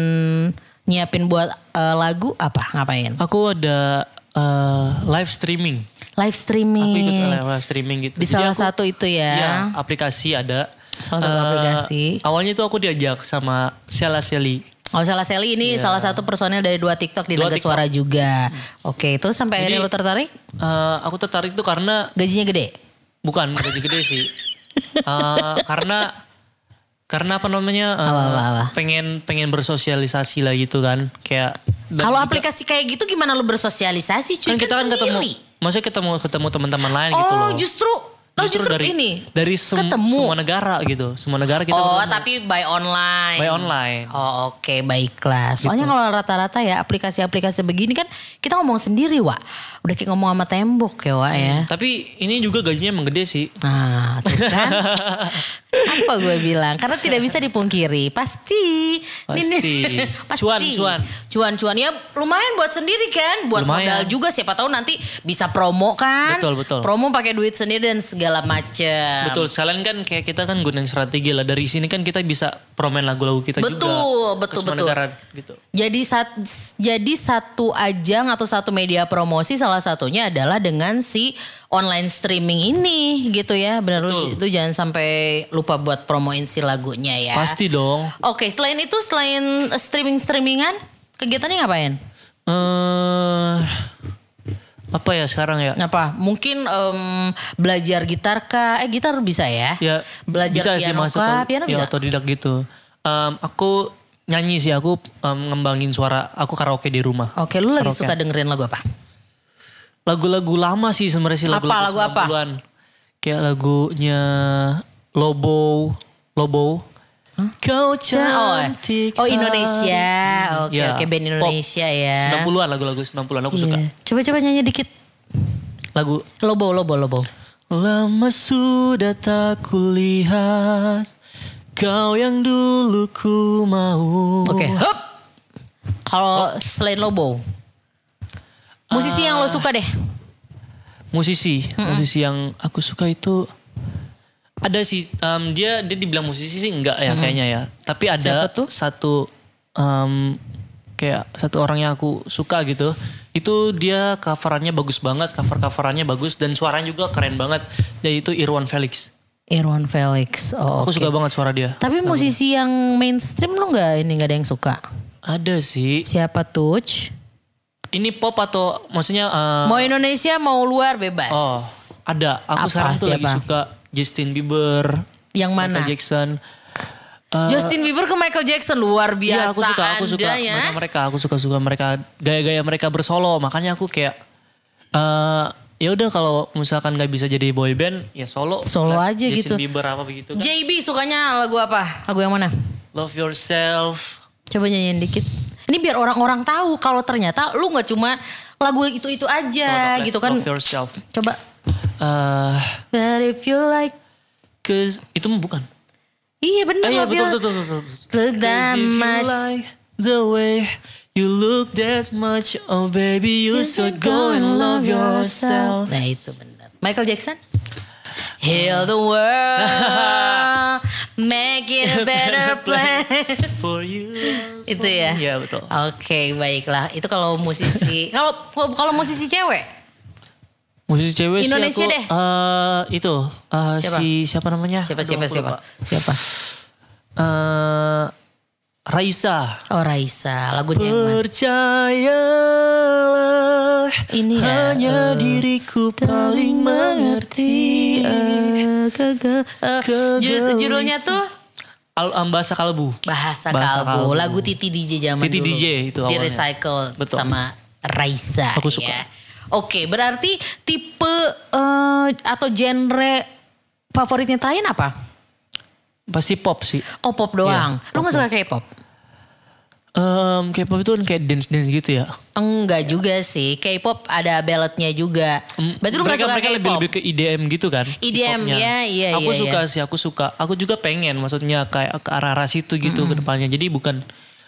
Speaker 2: nyiapin buat eh, lagu apa ngapain?
Speaker 1: aku ada eh, live streaming.
Speaker 2: Live
Speaker 1: aku ikut
Speaker 2: streaming
Speaker 1: live streaming gitu.
Speaker 2: di
Speaker 1: Jadi
Speaker 2: salah
Speaker 1: aku-
Speaker 2: satu itu
Speaker 1: Iya,
Speaker 2: ya.
Speaker 1: aplikasi ada.
Speaker 2: Salah satu
Speaker 1: Eh,
Speaker 2: aplikasi.
Speaker 1: Awalnya itu aku diajak sama Sela Seli.
Speaker 2: Oh salah Sally ini salah satu personel dari dua TikTok di
Speaker 1: iya. Dua
Speaker 2: Naga
Speaker 1: TikTok.
Speaker 2: Suara juga. Oke, terus sampai
Speaker 1: Jadi-
Speaker 2: akhirnya lo tertarik?
Speaker 1: Eh, aku tertarik tuh karena
Speaker 2: Gajinya gede.
Speaker 1: bukan gaji gede sih. Eh, karena karena apa namanya? eh,
Speaker 2: Apa, apa, apa?
Speaker 1: Pengen pengen bersosialisasi lah gitu kan. Kayak dan
Speaker 2: Kalau aplikasi kayak gitu gimana lo bersosialisasi?
Speaker 1: kan
Speaker 2: Cuy,
Speaker 1: kita kan ketemu,
Speaker 2: sendiri.
Speaker 1: maksudnya ketemu ketemu teman-teman lain
Speaker 2: Oh
Speaker 1: gitu loh.
Speaker 2: justru, oh justru,
Speaker 1: dari
Speaker 2: ini.
Speaker 1: dari sem-
Speaker 2: Ketemu.
Speaker 1: semua negara gitu. Semua negara kita
Speaker 2: oh
Speaker 1: bertemu.
Speaker 2: tapi by online.
Speaker 1: by online. Gitu.
Speaker 2: Oh oke baiklah. Soalnya kalau rata-rata ya aplikasi-aplikasi begini kan kita ngomong sendiri Wak. Udah kayak ngomong sama tembok ya Wak ya.
Speaker 1: Tapi ini juga gajinya emang gede sih.
Speaker 2: Nah tuh kan. Apa gue bilang. Karena tidak bisa dipungkiri. Pasti.
Speaker 1: Pasti. Cuan, cuan.
Speaker 2: Cuan-cuan ya lumayan buat sendiri kan. Buat modal
Speaker 1: Lumayan.
Speaker 2: juga siapa tahu nanti bisa promo kan.
Speaker 1: Betul, betul.
Speaker 2: Promo pakai duit sendiri dan segala macem.
Speaker 1: Betul, sekalian kan kayak kita kan gunain strategi lah. Dari sini kan kita bisa promen lagu-lagu kita juga.
Speaker 2: Betul, betul,
Speaker 1: ke semua
Speaker 2: betul.
Speaker 1: negara gitu.
Speaker 2: Jadi sat- jadi satu ajang atau satu media promosi salah satunya adalah dengan si online streaming ini gitu ya. Benar lu, lu jangan sampai lupa buat promoin si lagunya ya.
Speaker 1: Pasti dong.
Speaker 2: Oke, selain itu selain streaming-streamingan, kegiatannya ngapain?
Speaker 1: Eh apa ya sekarang ya?
Speaker 2: Apa? Mungkin em, belajar gitar kah? Eh gitar bisa ya?
Speaker 1: Ya
Speaker 2: Belajar
Speaker 1: bisa sih
Speaker 2: piano
Speaker 1: masuk
Speaker 2: kah?
Speaker 1: ke-
Speaker 2: Piano
Speaker 1: ya,
Speaker 2: bisa?
Speaker 1: otodidak gitu. Em, aku nyanyi sih aku em, ngembangin suara aku karaoke di rumah.
Speaker 2: Oke, lu lagi
Speaker 1: Karaoke.
Speaker 2: suka dengerin lagu apa?
Speaker 1: Lagu-lagu lama sih sebenarnya sih lagu-lagu
Speaker 2: Apa, lagu apa?
Speaker 1: 90-an. Kayak lagunya Lobo, Lobo. Kau
Speaker 2: Oh,
Speaker 1: cantik.
Speaker 2: oh Indonesia. Oke,
Speaker 1: Ya,
Speaker 2: oke band
Speaker 1: pop.
Speaker 2: Indonesia ya.
Speaker 1: 90-an lagu-lagu 90-an aku suka.
Speaker 2: Iya. Coba-coba nyanyi dikit.
Speaker 1: Lagu
Speaker 2: Lobo, lobo, lobo.
Speaker 1: Lama sudah tak kulihat kau yang dulu ku mau.
Speaker 2: Oke, hop. Kalau selain lobo. Musisi yang lo suka deh.
Speaker 1: Musisi, musisi yang aku suka itu ada sih em, dia dia dibilang musisi sih enggak ya kayaknya ya. Tapi ada
Speaker 2: Siapa tuh?
Speaker 1: satu em, kayak satu orang yang aku suka gitu. Itu dia coverannya bagus banget, cover-coverannya bagus dan suaranya juga keren banget. Yaitu Irwan Felix.
Speaker 2: Irwan Felix. Oh,
Speaker 1: Aku
Speaker 2: oke.
Speaker 1: suka banget suara dia.
Speaker 2: Tapi musisi yang mainstream lo nggak ini nggak ada yang suka.
Speaker 1: Ada sih.
Speaker 2: Siapa Tuch?
Speaker 1: Ini pop atau maksudnya em,
Speaker 2: Mau Indonesia mau luar bebas.
Speaker 1: Eh. Oh, ada. Aku
Speaker 2: Apa,
Speaker 1: sekarang tuh lagi
Speaker 2: siapa? Nah.
Speaker 1: suka Justin Bieber,
Speaker 2: Yang mana?
Speaker 1: Michael Jackson.
Speaker 2: Justin Bieber ke Michael Jackson luar
Speaker 1: Iya,
Speaker 2: biasa.
Speaker 1: aku suka, aku suka
Speaker 2: Anda ya.
Speaker 1: mereka, mereka, aku suka suka mereka gaya-gaya mereka bersolo. Makanya aku kayak eh ya udah kalau misalkan nggak bisa jadi boy band, ya solo.
Speaker 2: Solo
Speaker 1: Lah,
Speaker 2: aja
Speaker 1: Justin
Speaker 2: gitu.
Speaker 1: Bieber apa begitu kan.
Speaker 2: JB sukanya lagu apa? Lagu yang mana?
Speaker 1: Love yourself.
Speaker 2: Coba nyanyiin dikit. Ini biar orang-orang tahu kalau ternyata lu nggak cuma lagu itu-itu aja gitu kan.
Speaker 1: Love yourself.
Speaker 2: Coba.
Speaker 1: Eh,
Speaker 2: But if you like.
Speaker 1: cause itu bukan.
Speaker 2: Iya bener.
Speaker 1: Ah, iya
Speaker 2: love
Speaker 1: betul,
Speaker 2: your-
Speaker 1: betul, betul, betul.
Speaker 2: Look that
Speaker 1: 'Cause if you
Speaker 2: much.
Speaker 1: like the way you look that much, oh baby you should go and love yourself.
Speaker 2: Nah itu benar. Michael Jackson? Heal the world, make it a better place.
Speaker 1: For you.
Speaker 2: itu ya.
Speaker 1: Iya betul.
Speaker 2: Oke, baiklah. Itu kalau musisi. Kalau kalau musisi cewek,
Speaker 1: Musisi cewek sih
Speaker 2: Indonesia
Speaker 1: aku,
Speaker 2: deh.
Speaker 1: eh, itu eh,
Speaker 2: Siapa?
Speaker 1: si siapa namanya?
Speaker 2: siapa
Speaker 1: Aduh,
Speaker 2: siapa
Speaker 1: aku
Speaker 2: siapa?
Speaker 1: lupa.
Speaker 2: Siapa?
Speaker 1: Eh, Raisa.
Speaker 2: Oh, Raisa. Lagunya yang mana?
Speaker 1: Percayalah
Speaker 2: Ini ya,
Speaker 1: hanya
Speaker 2: eh,
Speaker 1: diriku paling mengerti.
Speaker 2: Eh, kege- eh, ju-
Speaker 1: Kegelisahan.
Speaker 2: judulnya tuh
Speaker 1: Al em, bahasa kalbu.
Speaker 2: Bahasa,
Speaker 1: Bahasa
Speaker 2: Kalbu.
Speaker 1: Kalbu.
Speaker 2: Lagu Titi DJ zaman
Speaker 1: Titi
Speaker 2: dulu.
Speaker 1: DJ itu
Speaker 2: Di
Speaker 1: awalnya.
Speaker 2: recycle
Speaker 1: Betul.
Speaker 2: sama Raisa
Speaker 1: Aku suka.
Speaker 2: ya. Oke berarti tipe eh, atau genre favoritnya Tayan apa?
Speaker 1: Pasti pop sih.
Speaker 2: Oh pop doang.
Speaker 1: Iya,
Speaker 2: Lu
Speaker 1: pop
Speaker 2: gak suka K-pop?
Speaker 1: Em, K-pop itu kan kayak dance-dance gitu ya.
Speaker 2: Enggak juga sih. K-pop ada balladnya juga. Berarti lu
Speaker 1: Mm, Hmm.
Speaker 2: gak
Speaker 1: mereka,
Speaker 2: suka
Speaker 1: mereka lebih,
Speaker 2: K-pop?
Speaker 1: lebih ke IDM gitu kan.
Speaker 2: IDM,
Speaker 1: K-popnya.
Speaker 2: ya, iya,
Speaker 1: Aku
Speaker 2: iya,
Speaker 1: suka sih, aku suka. Aku juga pengen maksudnya kayak ke arah-arah situ gitu ke depannya. Jadi bukan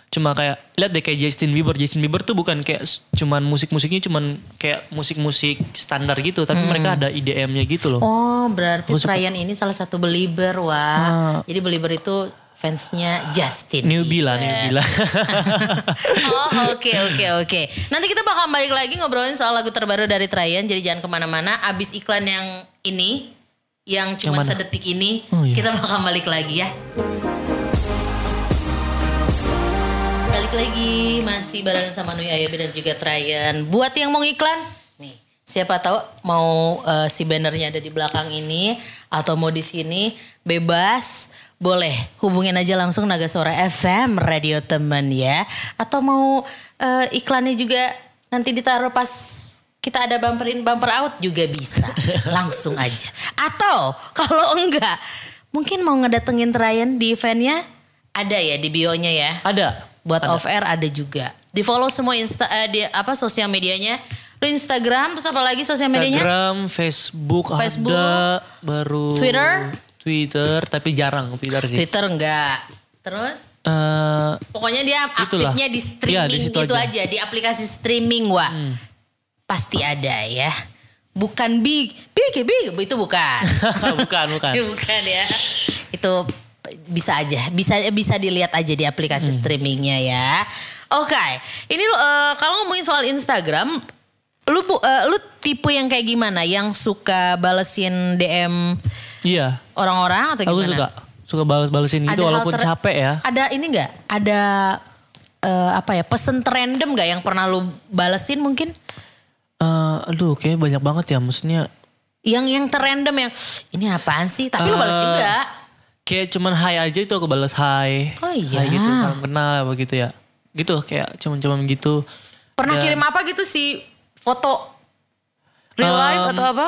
Speaker 1: cuma kayak lihat deh kayak Justin Bieber. Justin Bieber tuh bukan kayak s- cuman musik-musiknya cuman kayak musik-musik standar gitu, tapi mereka ada IDM-nya gitu loh.
Speaker 2: Oh berarti Trayan ini salah satu belieber
Speaker 1: Ah.
Speaker 2: wah. Jadi belieber itu fansnya Justin.
Speaker 1: Newbie lah,
Speaker 2: iya.
Speaker 1: newbie lah.
Speaker 2: oh oke oke oke. Nanti kita bakal balik lagi ngobrolin soal lagu terbaru dari Trayan. Jadi jangan kemana-mana. Abis iklan yang ini, yang cuma
Speaker 1: mana?
Speaker 2: sedetik ini,
Speaker 1: Oh, iya.
Speaker 2: kita bakal balik lagi ya. Balik lagi masih bareng sama Nui Ayabi dan juga Trayan. Buat yang mau ngiklan, nih siapa tahu mau eh, si bannernya ada di belakang ini atau mau di sini bebas boleh hubungin aja langsung Naga Suara FM Radio Teman ya atau mau eh, iklannya juga nanti ditaruh pas kita ada bumper in bumper out juga bisa langsung aja atau kalau enggak mungkin mau ngedatengin Trayan di eventnya ada ya di bionya ya
Speaker 1: ada.
Speaker 2: buat off air ada juga. Di follow semua insta eh, di apa sosial medianya. Lu Instagram terus apa lagi sosial medianya?
Speaker 1: Instagram, Facebook,
Speaker 2: Facebook.
Speaker 1: ada, baru
Speaker 2: Twitter.
Speaker 1: Twitter, tapi jarang Twitter sih.
Speaker 2: Twitter enggak. Terus
Speaker 1: Eh,
Speaker 2: pokoknya dia
Speaker 1: Itulah.
Speaker 2: aktifnya di streaming
Speaker 1: Iya, di situ
Speaker 2: gitu aja.
Speaker 1: aja. Hmm.
Speaker 2: di aplikasi streaming wa. Pasti ada ya. Bukan big, big, big, itu bukan.
Speaker 1: bukan, bukan.
Speaker 2: bukan ya. Itu bisa aja, bisa bisa dilihat aja di aplikasi
Speaker 1: Hmm.
Speaker 2: streamingnya ya. Oke, ini lu, eh, kalau ngomongin soal Instagram, lu pu- eh, lu tipe yang kayak gimana? Yang suka balesin DM
Speaker 1: Iya.
Speaker 2: orang-orang atau
Speaker 1: Aku
Speaker 2: gimana?
Speaker 1: suka suka balas-balesin gitu
Speaker 2: hal
Speaker 1: walaupun
Speaker 2: ter-
Speaker 1: capek ya.
Speaker 2: Ada ini nggak? Ada eh, apa ya? Pesen random nggak yang pernah lu balesin mungkin?
Speaker 1: Eh, aduh kayak banyak banget ya maksudnya
Speaker 2: Yang yang terrandom yang ini apaan sih? Tapi lu balas
Speaker 1: Eh,
Speaker 2: juga.
Speaker 1: Kayak cuman hai aja itu aku balas hai.
Speaker 2: Oh iya.
Speaker 1: Hai gitu, salam kenal apa gitu ya. Gitu kayak cuman-cuman gitu.
Speaker 2: Pernah kirim apa gitu sih? Foto
Speaker 1: Um,
Speaker 2: real life atau apa?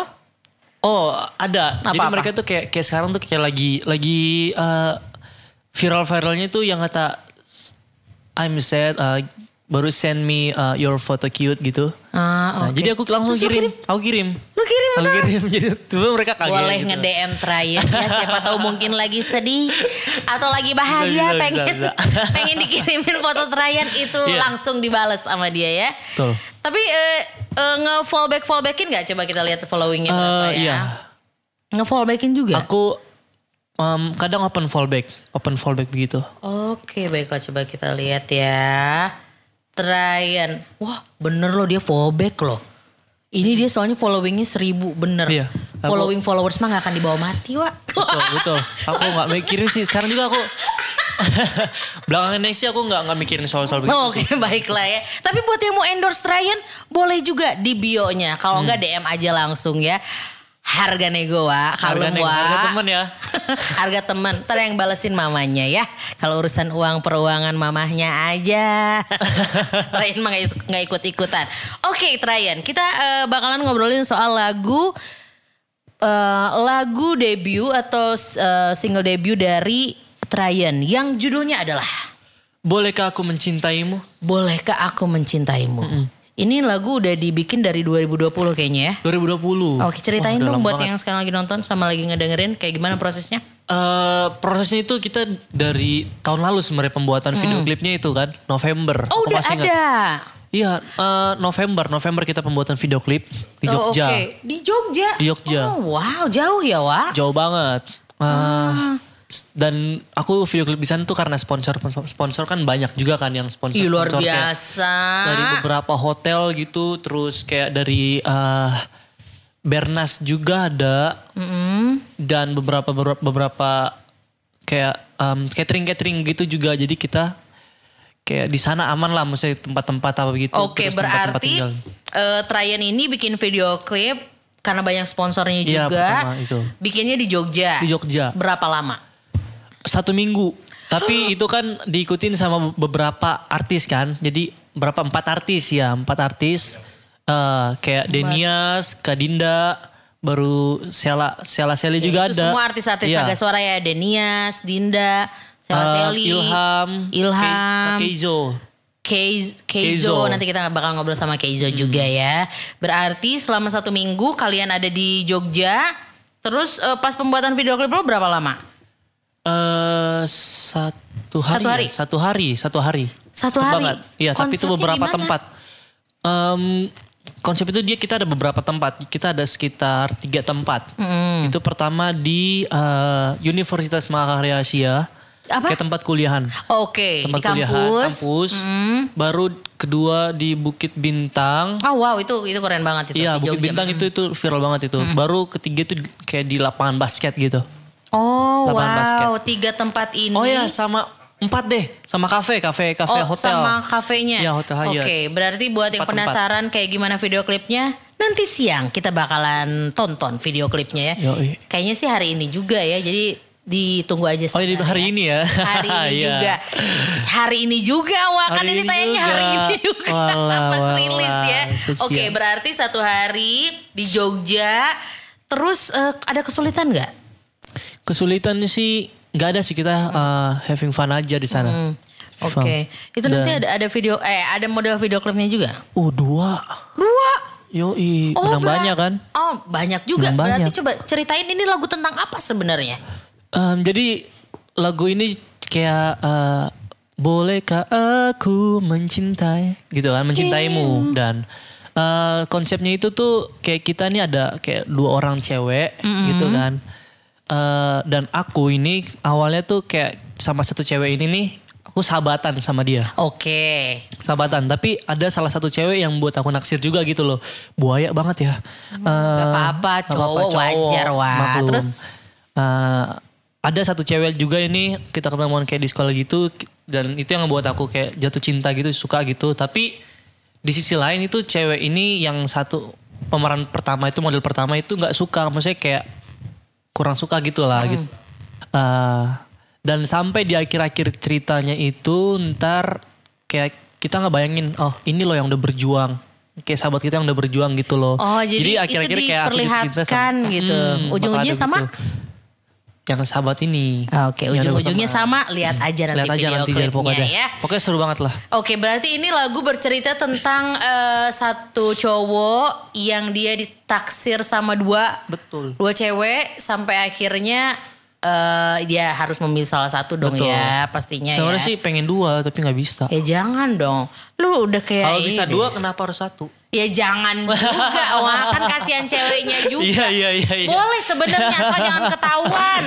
Speaker 1: Oh ada. Jadi
Speaker 2: Apa-apa?
Speaker 1: mereka tuh kayak kayak sekarang tuh kayak lagi lagi eh, viral-viralnya tuh yang kata I'm sad eh, baru send me eh, your photo cute gitu.
Speaker 2: Ah,
Speaker 1: Nah, jadi aku langsung
Speaker 2: Terus lu
Speaker 1: kirim. Aku kirim.
Speaker 2: Lu kirim
Speaker 1: Aku kirim. Jadi tiba-tiba mereka kaget.
Speaker 2: boleh
Speaker 1: gitu.
Speaker 2: nge-DM terakhir ya siapa tahu mungkin lagi sedih atau lagi bahagia
Speaker 1: Bisa, bisa,
Speaker 2: pengen
Speaker 1: bisa,
Speaker 2: pengen dikirimin foto terakhir itu
Speaker 1: Iya.
Speaker 2: langsung dibales sama dia ya.
Speaker 1: Betul.
Speaker 2: Tapi eh, eh, nge-fallback fallbackin nggak coba kita lihat followingnya berapa
Speaker 1: Eh,
Speaker 2: ya?
Speaker 1: iya.
Speaker 2: Nge-fallbackin juga.
Speaker 1: Aku em, kadang open fallback, open fallback begitu.
Speaker 2: Oke, baiklah coba kita lihat ya. Tryan. Wah, bener loh dia fallback loh. Ini dia soalnya followingnya seribu, bener.
Speaker 1: Iya. Aku-
Speaker 2: Following followers mah gak akan dibawa mati, Wak.
Speaker 1: Betul, betul. Aku nggak mikirin sih. Sekarang juga aku belakangan next sih aku nggak nggak mikirin soal-soal begitu.
Speaker 2: Oke baiklah ya. Tapi buat yang mau endorse Tryan boleh juga di bio-nya.
Speaker 1: Hmm.
Speaker 2: Kalau enggak DM aja langsung ya. Harga nego wa, kalau
Speaker 1: Harga, neng- harga temen ya.
Speaker 2: harga teman. Ntar yang balesin mamanya ya. Kalau urusan uang peruangan mamahnya aja. Tryan mah nggak ik- nggak ikut-ikutan. Oke Tryan, kita eh, bakalan ngobrolin soal lagu eh, lagu debut atau eh, single debut dari Tryan yang judulnya adalah
Speaker 1: Bolehkah aku mencintaimu?
Speaker 2: Bolehkah aku mencintaimu? Ini lagu udah dibikin dari 2020 kayaknya ya.
Speaker 1: 2020.
Speaker 2: Oke, ceritain
Speaker 1: Wah, udah
Speaker 2: dong
Speaker 1: lama
Speaker 2: buat
Speaker 1: banget.
Speaker 2: yang sekarang lagi nonton sama lagi ngedengerin kayak gimana prosesnya?
Speaker 1: Eh, prosesnya itu kita dari tahun lalu sebenarnya pembuatan video klipnya itu kan November. Aku
Speaker 2: Oh, udah
Speaker 1: masih ingat.
Speaker 2: ada.
Speaker 1: Iya, eh, November. November kita pembuatan video klip di
Speaker 2: Oh,
Speaker 1: Jogja.
Speaker 2: Oke, di Jogja.
Speaker 1: Di Jogja.
Speaker 2: Oh, wow, jauh ya, Wak.
Speaker 1: Jauh banget. Eh,
Speaker 2: Ah.
Speaker 1: s- Dan aku video klip di sana tuh karena sponsor sponsor kan banyak juga kan yang sponsor.
Speaker 2: Ih, luar
Speaker 1: sponsor kayak-
Speaker 2: biasa.
Speaker 1: dari beberapa hotel gitu terus kayak dari eh, Bernas juga ada
Speaker 2: Mm-mm.
Speaker 1: dan beberapa beberapa, beberapa kayak catering catering gitu juga jadi kita kayak di sana aman lah maksudnya tempat-tempat apa gitu
Speaker 2: Oke,
Speaker 1: terus tempat-tempat
Speaker 2: berarti
Speaker 1: tinggal.
Speaker 2: eh, Tryan ini bikin video klip karena banyak sponsornya
Speaker 1: Iya,
Speaker 2: juga.
Speaker 1: pertama itu.
Speaker 2: Bikinnya di Jogja.
Speaker 1: di Jogja
Speaker 2: Berapa lama?
Speaker 1: satu minggu tapi itu kan diikutin sama beberapa artis kan jadi berapa empat artis ya empat artis Eh, kayak Denias, Kadinda, baru Sela Sela Seli juga
Speaker 2: Ya, itu
Speaker 1: ada
Speaker 2: semua artis-artis
Speaker 1: Iya.
Speaker 2: naga suara ya. Denias, Dinda, Sela
Speaker 1: Eh,
Speaker 2: Seli,
Speaker 1: Ilham, Ke-
Speaker 2: Ilham,
Speaker 1: Keizo.
Speaker 2: Keiz- Keizo.
Speaker 1: Keizo. Hmm.
Speaker 2: Nanti kita bakal ngobrol sama Keizo juga ya. Berarti selama satu minggu kalian ada di Jogja. Terus eh, pas pembuatan video klip lo berapa lama?
Speaker 1: Eh, satu hari,
Speaker 2: Satu hari?
Speaker 1: ya? satu hari, satu hari.
Speaker 2: Satu
Speaker 1: Cepet
Speaker 2: hari?
Speaker 1: Banget. Iya, tapi itu
Speaker 2: Konsepnya
Speaker 1: beberapa
Speaker 2: gimana?
Speaker 1: tempat. Em, konsep itu dia kita ada beberapa tempat. Kita ada sekitar tiga tempat. Itu pertama di eh, Universitas Mahakarya Asia.
Speaker 2: Apa?
Speaker 1: Kayak tempat kuliahan.
Speaker 2: Oke,
Speaker 1: Tempat
Speaker 2: di kampus. Hmm.
Speaker 1: kampus. Baru kedua di Bukit Bintang.
Speaker 2: Oh wow, itu itu keren banget itu
Speaker 1: Iya,
Speaker 2: di
Speaker 1: Bukit
Speaker 2: Jogja.
Speaker 1: Bintang itu itu viral banget
Speaker 2: Hmm.
Speaker 1: itu. Baru ketiga itu kayak di lapangan basket gitu.
Speaker 2: Oh
Speaker 1: Lapangan basket.
Speaker 2: wow, tiga tempat ini.
Speaker 1: Oh ya, sama empat deh, sama kafe, kafe, kafe
Speaker 2: Oh,
Speaker 1: hotel.
Speaker 2: sama kafenya.
Speaker 1: Iya, hotel Hyatt.
Speaker 2: Oke, berarti buat yang
Speaker 1: Empat tempat.
Speaker 2: penasaran kayak gimana video klipnya, nanti siang kita bakalan tonton video klipnya ya.
Speaker 1: Yoi.
Speaker 2: Kayaknya sih hari ini juga ya. Jadi ditunggu aja
Speaker 1: Oh, jadi
Speaker 2: sebenarnya.
Speaker 1: hari ini ya?
Speaker 2: Hari ini
Speaker 1: Iya.
Speaker 2: juga. Hari ini juga wah kan
Speaker 1: Hari
Speaker 2: ini
Speaker 1: ini
Speaker 2: tayangnya hari
Speaker 1: juga.
Speaker 2: ini juga.
Speaker 1: Walah,
Speaker 2: Pas
Speaker 1: walah,
Speaker 2: rilis ya.
Speaker 1: sesian.
Speaker 2: Oke, berarti satu hari di Jogja. Terus eh, ada kesulitan nggak?
Speaker 1: Kesulitan sih nggak ada sih kita
Speaker 2: Hmm.
Speaker 1: uh, having fun aja di sana.
Speaker 2: Oke.
Speaker 1: Fun.
Speaker 2: Itu nanti ada ada video eh ada model video klipnya juga.
Speaker 1: Uh dua,
Speaker 2: Dua
Speaker 1: yoi menang
Speaker 2: Oh, berat.
Speaker 1: banyak kan?
Speaker 2: Oh banyak juga.
Speaker 1: Menang
Speaker 2: Berarti
Speaker 1: banyak.
Speaker 2: coba ceritain ini lagu tentang apa sebenarnya?
Speaker 1: Em, jadi lagu ini kayak eh, bolehkah aku mencintai gitu kan
Speaker 2: Iya.
Speaker 1: mencintaimu dan eh, konsepnya itu tuh kayak kita nih ada kayak dua orang cewek gitu kan Eh, dan aku ini awalnya tuh kayak sama satu cewek ini nih aku sahabatan sama dia
Speaker 2: Oke.
Speaker 1: sahabatan tapi ada salah satu cewek yang buat aku naksir juga gitu loh buaya banget ya Eh,
Speaker 2: Gak apa-apa,
Speaker 1: Gak apa-apa,
Speaker 2: cowok, wajar wah.
Speaker 1: maklum.
Speaker 2: Terus
Speaker 1: Eh, ada satu cewek juga ini kita ketemuan kayak di sekolah gitu dan itu yang ngebuat aku kayak jatuh cinta gitu suka gitu tapi di sisi lain itu cewek ini yang satu pemeran pertama itu model pertama itu nggak suka maksudnya kayak kurang suka gitu lah
Speaker 2: Hmm.
Speaker 1: gitu Eh, dan sampai di akhir-akhir ceritanya itu ntar kayak kita nggak bayangin oh ini loh yang udah berjuang kayak sahabat kita yang udah berjuang gitu loh
Speaker 2: Oh jadi, itu
Speaker 1: aku jatuh cinta
Speaker 2: diperlihatkan
Speaker 1: sama-
Speaker 2: gitu.
Speaker 1: Hmm, bakal
Speaker 2: Ujung-ujungnya
Speaker 1: ada
Speaker 2: sama?
Speaker 1: gitu. yang sahabat ini
Speaker 2: Ah, Oke,
Speaker 1: Yang udah
Speaker 2: ujung-ujungnya
Speaker 1: berteman.
Speaker 2: sama. Lihat aja
Speaker 1: lihat
Speaker 2: nanti
Speaker 1: aja
Speaker 2: video
Speaker 1: nanti jangan
Speaker 2: klipnya
Speaker 1: pokoknya
Speaker 2: ya.
Speaker 1: pokoknya seru banget lah
Speaker 2: Oke, berarti ini lagu bercerita tentang eh, satu cowok yang dia ditaksir sama dua
Speaker 1: betul
Speaker 2: dua cewek sampai akhirnya eh, dia harus memilih salah satu dong
Speaker 1: Betul.
Speaker 2: ya pastinya
Speaker 1: sebenarnya
Speaker 2: ya.
Speaker 1: sih pengen dua tapi nggak bisa
Speaker 2: Ya jangan dong. Lu udah kayak
Speaker 1: kalau bisa
Speaker 2: ini.
Speaker 1: dua kenapa harus satu
Speaker 2: Ya jangan juga. Wah, kan kasihan ceweknya
Speaker 1: Iya,
Speaker 2: juga.
Speaker 1: iya, iya, iya.
Speaker 2: Boleh sebenarnya asal jangan ketahuan.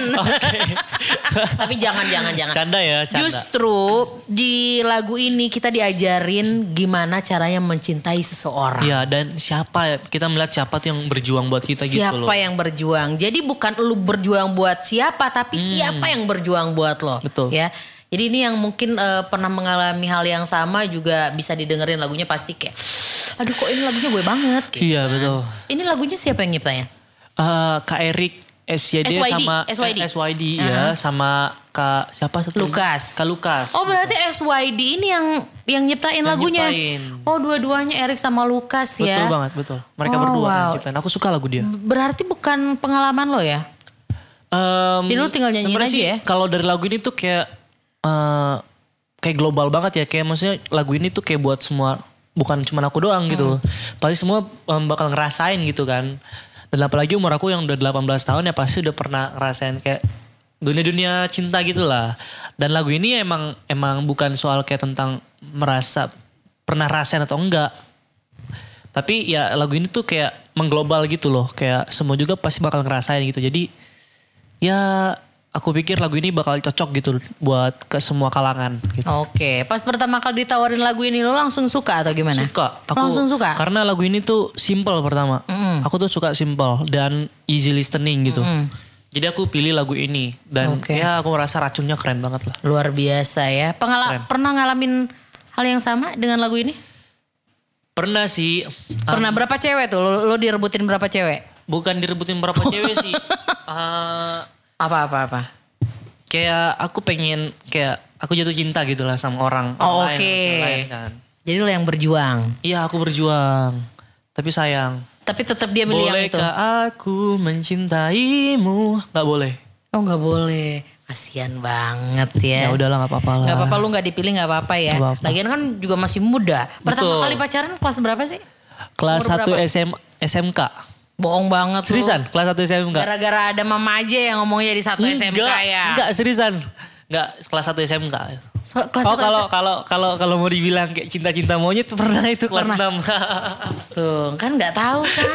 Speaker 2: Tapi jangan jangan jangan.
Speaker 1: canda ya canda
Speaker 2: Justru di lagu ini kita diajarin gimana caranya mencintai seseorang.
Speaker 1: Iya dan siapa ya kita melihat siapa tuh yang berjuang buat kita gitu loh.
Speaker 2: siapa ya? yang berjuang. Jadi bukan lu berjuang buat siapa, tapi siapa yang berjuang buat lo.
Speaker 1: Hmm. Betul.
Speaker 2: Ya. Jadi ini yang mungkin eh, pernah mengalami hal yang sama juga bisa didengerin lagunya pasti kayak, aduh kok ini lagunya gue banget. gitu.
Speaker 1: Iya betul.
Speaker 2: Ini lagunya siapa yang nyiptain?
Speaker 1: Eh Kak Erik SYD
Speaker 2: SYD,
Speaker 1: sama
Speaker 2: SYD.
Speaker 1: eh, SYD, ya sama Kak siapa satu? lagi?
Speaker 2: Ah. Lukas.
Speaker 1: Kak Lukas.
Speaker 2: Oh berarti SYD ini yang yang nyiptain lagunya.
Speaker 1: nyiptain.
Speaker 2: Oh dua-duanya Erik sama Lukas
Speaker 1: betul
Speaker 2: ya.
Speaker 1: banget betul. Mereka
Speaker 2: Oh,
Speaker 1: berdua yang
Speaker 2: wow.
Speaker 1: ciptain. Aku suka lagu dia.
Speaker 2: Berarti bukan pengalaman lo ya?
Speaker 1: Em,
Speaker 2: Jadi lu tinggal nyanyiin
Speaker 1: sebenarnya
Speaker 2: aja
Speaker 1: sih
Speaker 2: ya?
Speaker 1: Kalau dari lagu ini tuh kayak eh, kayak global banget ya. Kayak maksudnya lagu ini tuh kayak buat semua bukan cuma aku doang gitu.
Speaker 2: Hmm.
Speaker 1: Pasti semua em, bakal ngerasain gitu kan. Dan apalagi umur aku yang udah 18 tahun ya pasti udah pernah ngerasain kayak dunia-dunia cinta gitu lah. Dan lagu ini emang emang bukan soal kayak tentang merasa pernah rasain atau enggak. Tapi ya lagu ini tuh kayak mengglobal gitu loh. Kayak semua juga pasti bakal ngerasain gitu. Jadi ya aku pikir lagu ini bakal cocok gitu buat ke semua kalangan gitu.
Speaker 2: Oke, pas pertama kali ditawarin lagu ini lo langsung suka atau gimana?
Speaker 1: Suka.
Speaker 2: langsung suka?
Speaker 1: Karena lagu ini tuh simple pertama.
Speaker 2: Mm-mm.
Speaker 1: Aku tuh suka simple dan easy listening gitu. Jadi aku pilih lagu ini dan
Speaker 2: Oke.
Speaker 1: ya aku merasa racunnya keren banget lah.
Speaker 2: Luar biasa ya. Pengala- pernah ngalamin hal yang sama dengan lagu ini?
Speaker 1: Pernah sih ah,
Speaker 2: Pernah berapa cewek tuh? Lo, lo direbutin berapa cewek?
Speaker 1: bukan direbutin berapa cewek sih. Ah,
Speaker 2: Apa apa apa?
Speaker 1: kayak aku pengen kayak aku jatuh cinta gitu lah sama orang,
Speaker 2: Oh,
Speaker 1: orang lain, sama
Speaker 2: oke.
Speaker 1: cewek lain kan.
Speaker 2: Jadi lo yang berjuang,
Speaker 1: Iya aku berjuang. Tapi sayang
Speaker 2: tapi tetap dia milih yang itu.
Speaker 1: Bolehkah aku mencintaimu? Gak boleh.
Speaker 2: Oh nggak boleh, kasihan banget ya.
Speaker 1: Ya udahlah nggak apa-apa lah.
Speaker 2: Gak apa-apa lu nggak dipilih nggak apa-apa ya.
Speaker 1: Nggak apa-apa.
Speaker 2: Lagian kan juga masih muda. Pertama
Speaker 1: Betul.
Speaker 2: kali pacaran kelas berapa sih?
Speaker 1: Kelas
Speaker 2: Umur
Speaker 1: 1
Speaker 2: berapa?
Speaker 1: SM, SMK.
Speaker 2: Bohong banget lu.
Speaker 1: Seriusan? Kelas 1 SMK?
Speaker 2: Gara-gara ada mama aja yang ngomongnya di satu SMK ya.
Speaker 1: enggak seriusan. Enggak, kelas 1 SMK.
Speaker 2: So- kelas
Speaker 1: oh
Speaker 2: satu
Speaker 1: kalau kalau kalau kalau mau dibilang kayak cinta-cinta monyet pernah itu kelas
Speaker 2: Pernah.
Speaker 1: 6.
Speaker 2: Tuh, kan nggak tahu kan.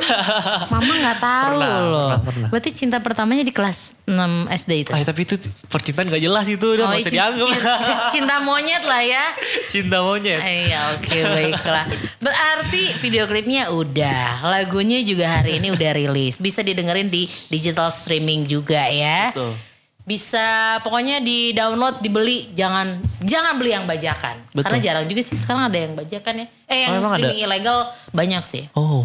Speaker 2: Mama nggak tahu
Speaker 1: Pernah,
Speaker 2: loh.
Speaker 1: pernah, pernah.
Speaker 2: Berarti cinta pertamanya di kelas 6 SD itu. Oh,
Speaker 1: ah, tapi itu percintaan gak jelas itu udah nggak usah
Speaker 2: cinta,
Speaker 1: dianggap.
Speaker 2: cinta monyet lah ya.
Speaker 1: cinta monyet.
Speaker 2: Iya oke baiklah. Berarti video klipnya udah, lagunya juga hari ini udah rilis. Bisa didengerin di digital streaming juga ya.
Speaker 1: Betul.
Speaker 2: Bisa pokoknya di download, dibeli, jangan jangan beli yang bajakan.
Speaker 1: Betul.
Speaker 2: Karena jarang juga sih sekarang ada yang bajakan ya. Eh yang
Speaker 1: Oh, emang ada?
Speaker 2: streaming ilegal banyak sih.
Speaker 1: Oh,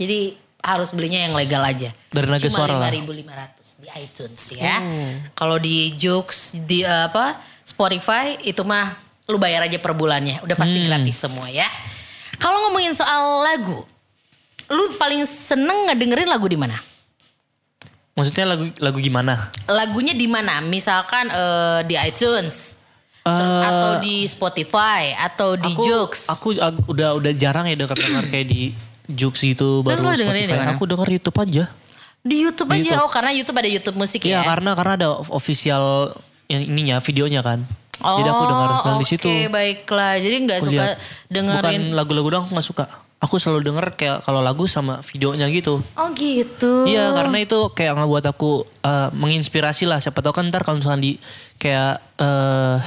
Speaker 2: Jadi harus belinya yang legal aja.
Speaker 1: Dari Naga
Speaker 2: Cuma
Speaker 1: Suara lah. Hmm.
Speaker 2: 5.500 di iTunes ya. Kalau di Joox di eh, apa Spotify itu mah lu bayar aja per bulannya. Udah pasti
Speaker 1: Hmm.
Speaker 2: gratis semua ya. Kalau ngomongin soal lagu, lu paling seneng ngedengerin lagu di mana?
Speaker 1: maksudnya lagu lagu gimana?
Speaker 2: Lagunya di mana? Misalkan eh, di iTunes ter-
Speaker 1: Eh,
Speaker 2: atau di Spotify atau di
Speaker 1: aku,
Speaker 2: Joox.
Speaker 1: Aku, aku udah udah jarang ya denger denger kayak di Jux gitu
Speaker 2: Terus
Speaker 1: baru
Speaker 2: lu dengerin Iya. di
Speaker 1: Spotify.
Speaker 2: mana?
Speaker 1: Aku denger YouTube aja.
Speaker 2: di YouTube
Speaker 1: di
Speaker 2: aja.
Speaker 1: YouTube.
Speaker 2: Oh, karena YouTube ada YouTube musik
Speaker 1: Iya
Speaker 2: ya.
Speaker 1: karena karena ada official yang ininya videonya kan.
Speaker 2: Oh,
Speaker 1: Jadi aku denger denger di situ.
Speaker 2: Oke, baiklah. Jadi nggak
Speaker 1: Aku
Speaker 2: suka
Speaker 1: lihat.
Speaker 2: dengerin.
Speaker 1: Bukan lagu-lagu doang aku nggak suka. Aku selalu denger kayak kalau lagu sama videonya gitu.
Speaker 2: Oh gitu.
Speaker 1: Iya karena itu kayak ngebuat aku eh, menginspirasi lah. Siapa tau kan ntar kalau misalkan di kayak eh,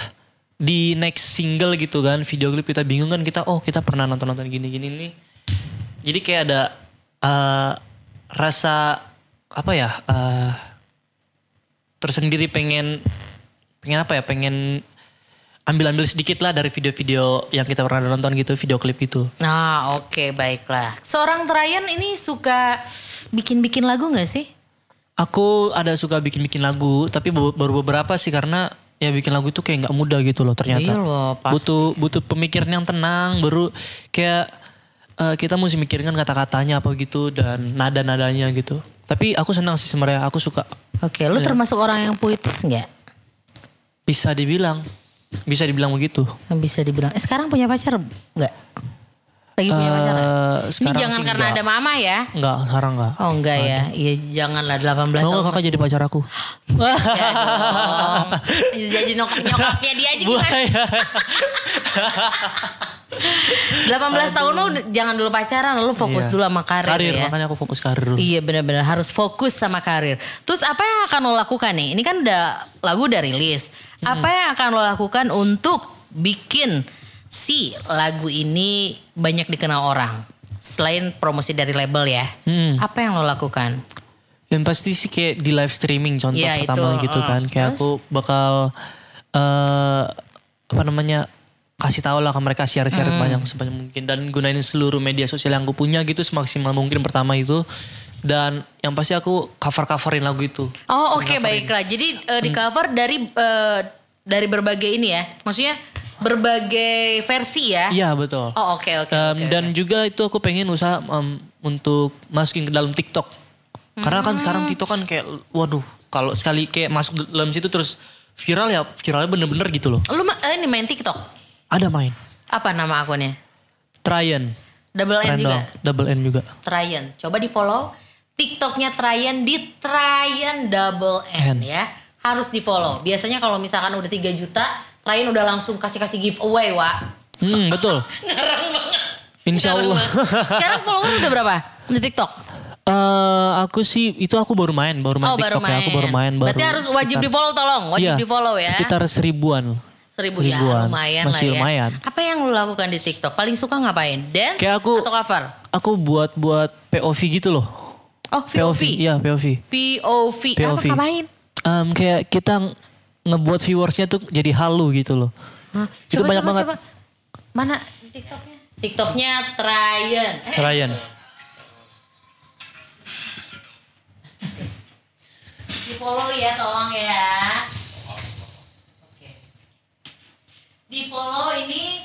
Speaker 1: di next single gitu kan video klip kita bingung kan kita oh kita pernah nonton nonton gini gini nih. Jadi kayak ada eh, rasa apa ya eh, tersendiri pengen pengen apa ya pengen ambil-ambil sedikit lah dari video-video yang kita pernah nonton gitu, video klip gitu.
Speaker 2: Nah oke baiklah. Seorang Trayan ini suka bikin-bikin lagu gak sih?
Speaker 1: Aku ada suka bikin-bikin lagu, tapi be- baru beberapa sih karena ya bikin lagu itu kayak nggak mudah gitu loh ternyata.
Speaker 2: Iya loh, pasti.
Speaker 1: Butuh butuh pemikiran yang tenang, baru kayak eh, kita mesti mikirin kan kata-katanya apa gitu dan nada-nadanya gitu. Tapi aku senang sih sebenarnya, aku suka
Speaker 2: Oke
Speaker 1: Iya.
Speaker 2: lu termasuk orang yang puitis gak?
Speaker 1: bisa dibilang bisa dibilang begitu.
Speaker 2: Yang bisa dibilang. Eh sekarang punya pacar gak? Lagi punya pacar gak?
Speaker 1: Eh,
Speaker 2: Ini
Speaker 1: sekarang
Speaker 2: jangan
Speaker 1: sih
Speaker 2: karena
Speaker 1: enggak.
Speaker 2: ada mama ya.
Speaker 1: Enggak, sekarang enggak.
Speaker 2: Oh enggak ya. Iya janganlah 18
Speaker 1: Mau
Speaker 2: tahun.
Speaker 1: nggak kakak jadi pacar aku?
Speaker 2: Ya dong. Jadi nyokap nyokapnya dia aja gimana?
Speaker 1: Buaya.
Speaker 2: 18 tahun lu jangan dulu pacaran, lu fokus
Speaker 1: Iya.
Speaker 2: dulu sama karir,
Speaker 1: Karir, Hmm.
Speaker 2: ya.
Speaker 1: makanya aku fokus karir dulu.
Speaker 2: Iya benar-benar harus fokus sama karir. Terus apa yang akan lo lakukan nih? Ini kan udah lagu udah rilis.
Speaker 1: Hmm.
Speaker 2: Apa yang akan lo lakukan untuk bikin si lagu ini banyak dikenal orang? Selain promosi dari label ya.
Speaker 1: Hmm.
Speaker 2: Apa yang lo lakukan?
Speaker 1: Yang pasti sih kayak di live streaming contoh
Speaker 2: Iya,
Speaker 1: pertama
Speaker 2: itu,
Speaker 1: gitu
Speaker 2: uh,
Speaker 1: kan. Kayak aku bakal eh apa namanya kasih tahu lah ke mereka share-share
Speaker 2: Hmm.
Speaker 1: banyak sebanyak mungkin dan gunain seluruh media sosial yang aku punya gitu semaksimal mungkin pertama itu dan yang pasti aku cover-coverin lagu itu.
Speaker 2: Oh oke baiklah. Jadi
Speaker 1: Hmm.
Speaker 2: eh, di cover dari eh, dari berbagai ini ya. Maksudnya berbagai versi ya.
Speaker 1: Iya, betul.
Speaker 2: Oh oke oke.
Speaker 1: Um,
Speaker 2: oke,
Speaker 1: dan juga itu aku pengen usaha um, untuk masukin ke dalam TikTok. Karena kan sekarang
Speaker 2: Hmm.
Speaker 1: TikTok kan kayak waduh kalau sekali kayak masuk ke dalam situ terus viral ya viralnya bener-bener gitu loh.
Speaker 2: oke. Lu ma- eh, ini main TikTok.
Speaker 1: Ada main.
Speaker 2: Apa nama akunnya?
Speaker 1: Tryan.
Speaker 2: Double N
Speaker 1: Tryan
Speaker 2: juga.
Speaker 1: doang. Double N juga.
Speaker 2: Tryan. Coba di follow TikToknya Tryan di Tryan Double N,
Speaker 1: N.
Speaker 2: ya. Harus di follow. Biasanya kalau misalkan udah 3 juta, Tryan udah langsung kasih-kasih giveaway, Wak.
Speaker 1: Hmm, betul.
Speaker 2: Ngarang banget.
Speaker 1: Insya
Speaker 2: Ngarang
Speaker 1: Allah.
Speaker 2: banget. Sekarang follower udah berapa? Di TikTok?
Speaker 1: Eh, aku sih itu aku baru main, baru main
Speaker 2: oh baru
Speaker 1: TikTok
Speaker 2: main.
Speaker 1: ya. Aku baru main. Baru
Speaker 2: Berarti harus wajib di follow tolong.
Speaker 1: Iya,
Speaker 2: Wajib di follow ya.
Speaker 1: Sekitar seribuan.
Speaker 2: Seribu ya
Speaker 1: Ribuan.
Speaker 2: lumayan
Speaker 1: Masih
Speaker 2: lah ya.
Speaker 1: lumayan.
Speaker 2: Apa yang lu lakukan di TikTok? Paling suka ngapain? Dance
Speaker 1: Kayak aku-
Speaker 2: atau cover?
Speaker 1: Aku buat buat POV gitu loh.
Speaker 2: Oh POV.
Speaker 1: Iya POV.
Speaker 2: POV. Apa
Speaker 1: POV.
Speaker 2: ngapain?
Speaker 1: Em, kayak kita ng- ngebuat viewersnya tuh jadi halu gitu loh.
Speaker 2: Hah?
Speaker 1: Itu
Speaker 2: Coba,
Speaker 1: banyak
Speaker 2: coba,
Speaker 1: banget.
Speaker 2: coba. Mana TikToknya? TikToknya Tryan. Eh,
Speaker 1: Ryan.
Speaker 2: di follow ya tolong ya. Oke. Di follow ini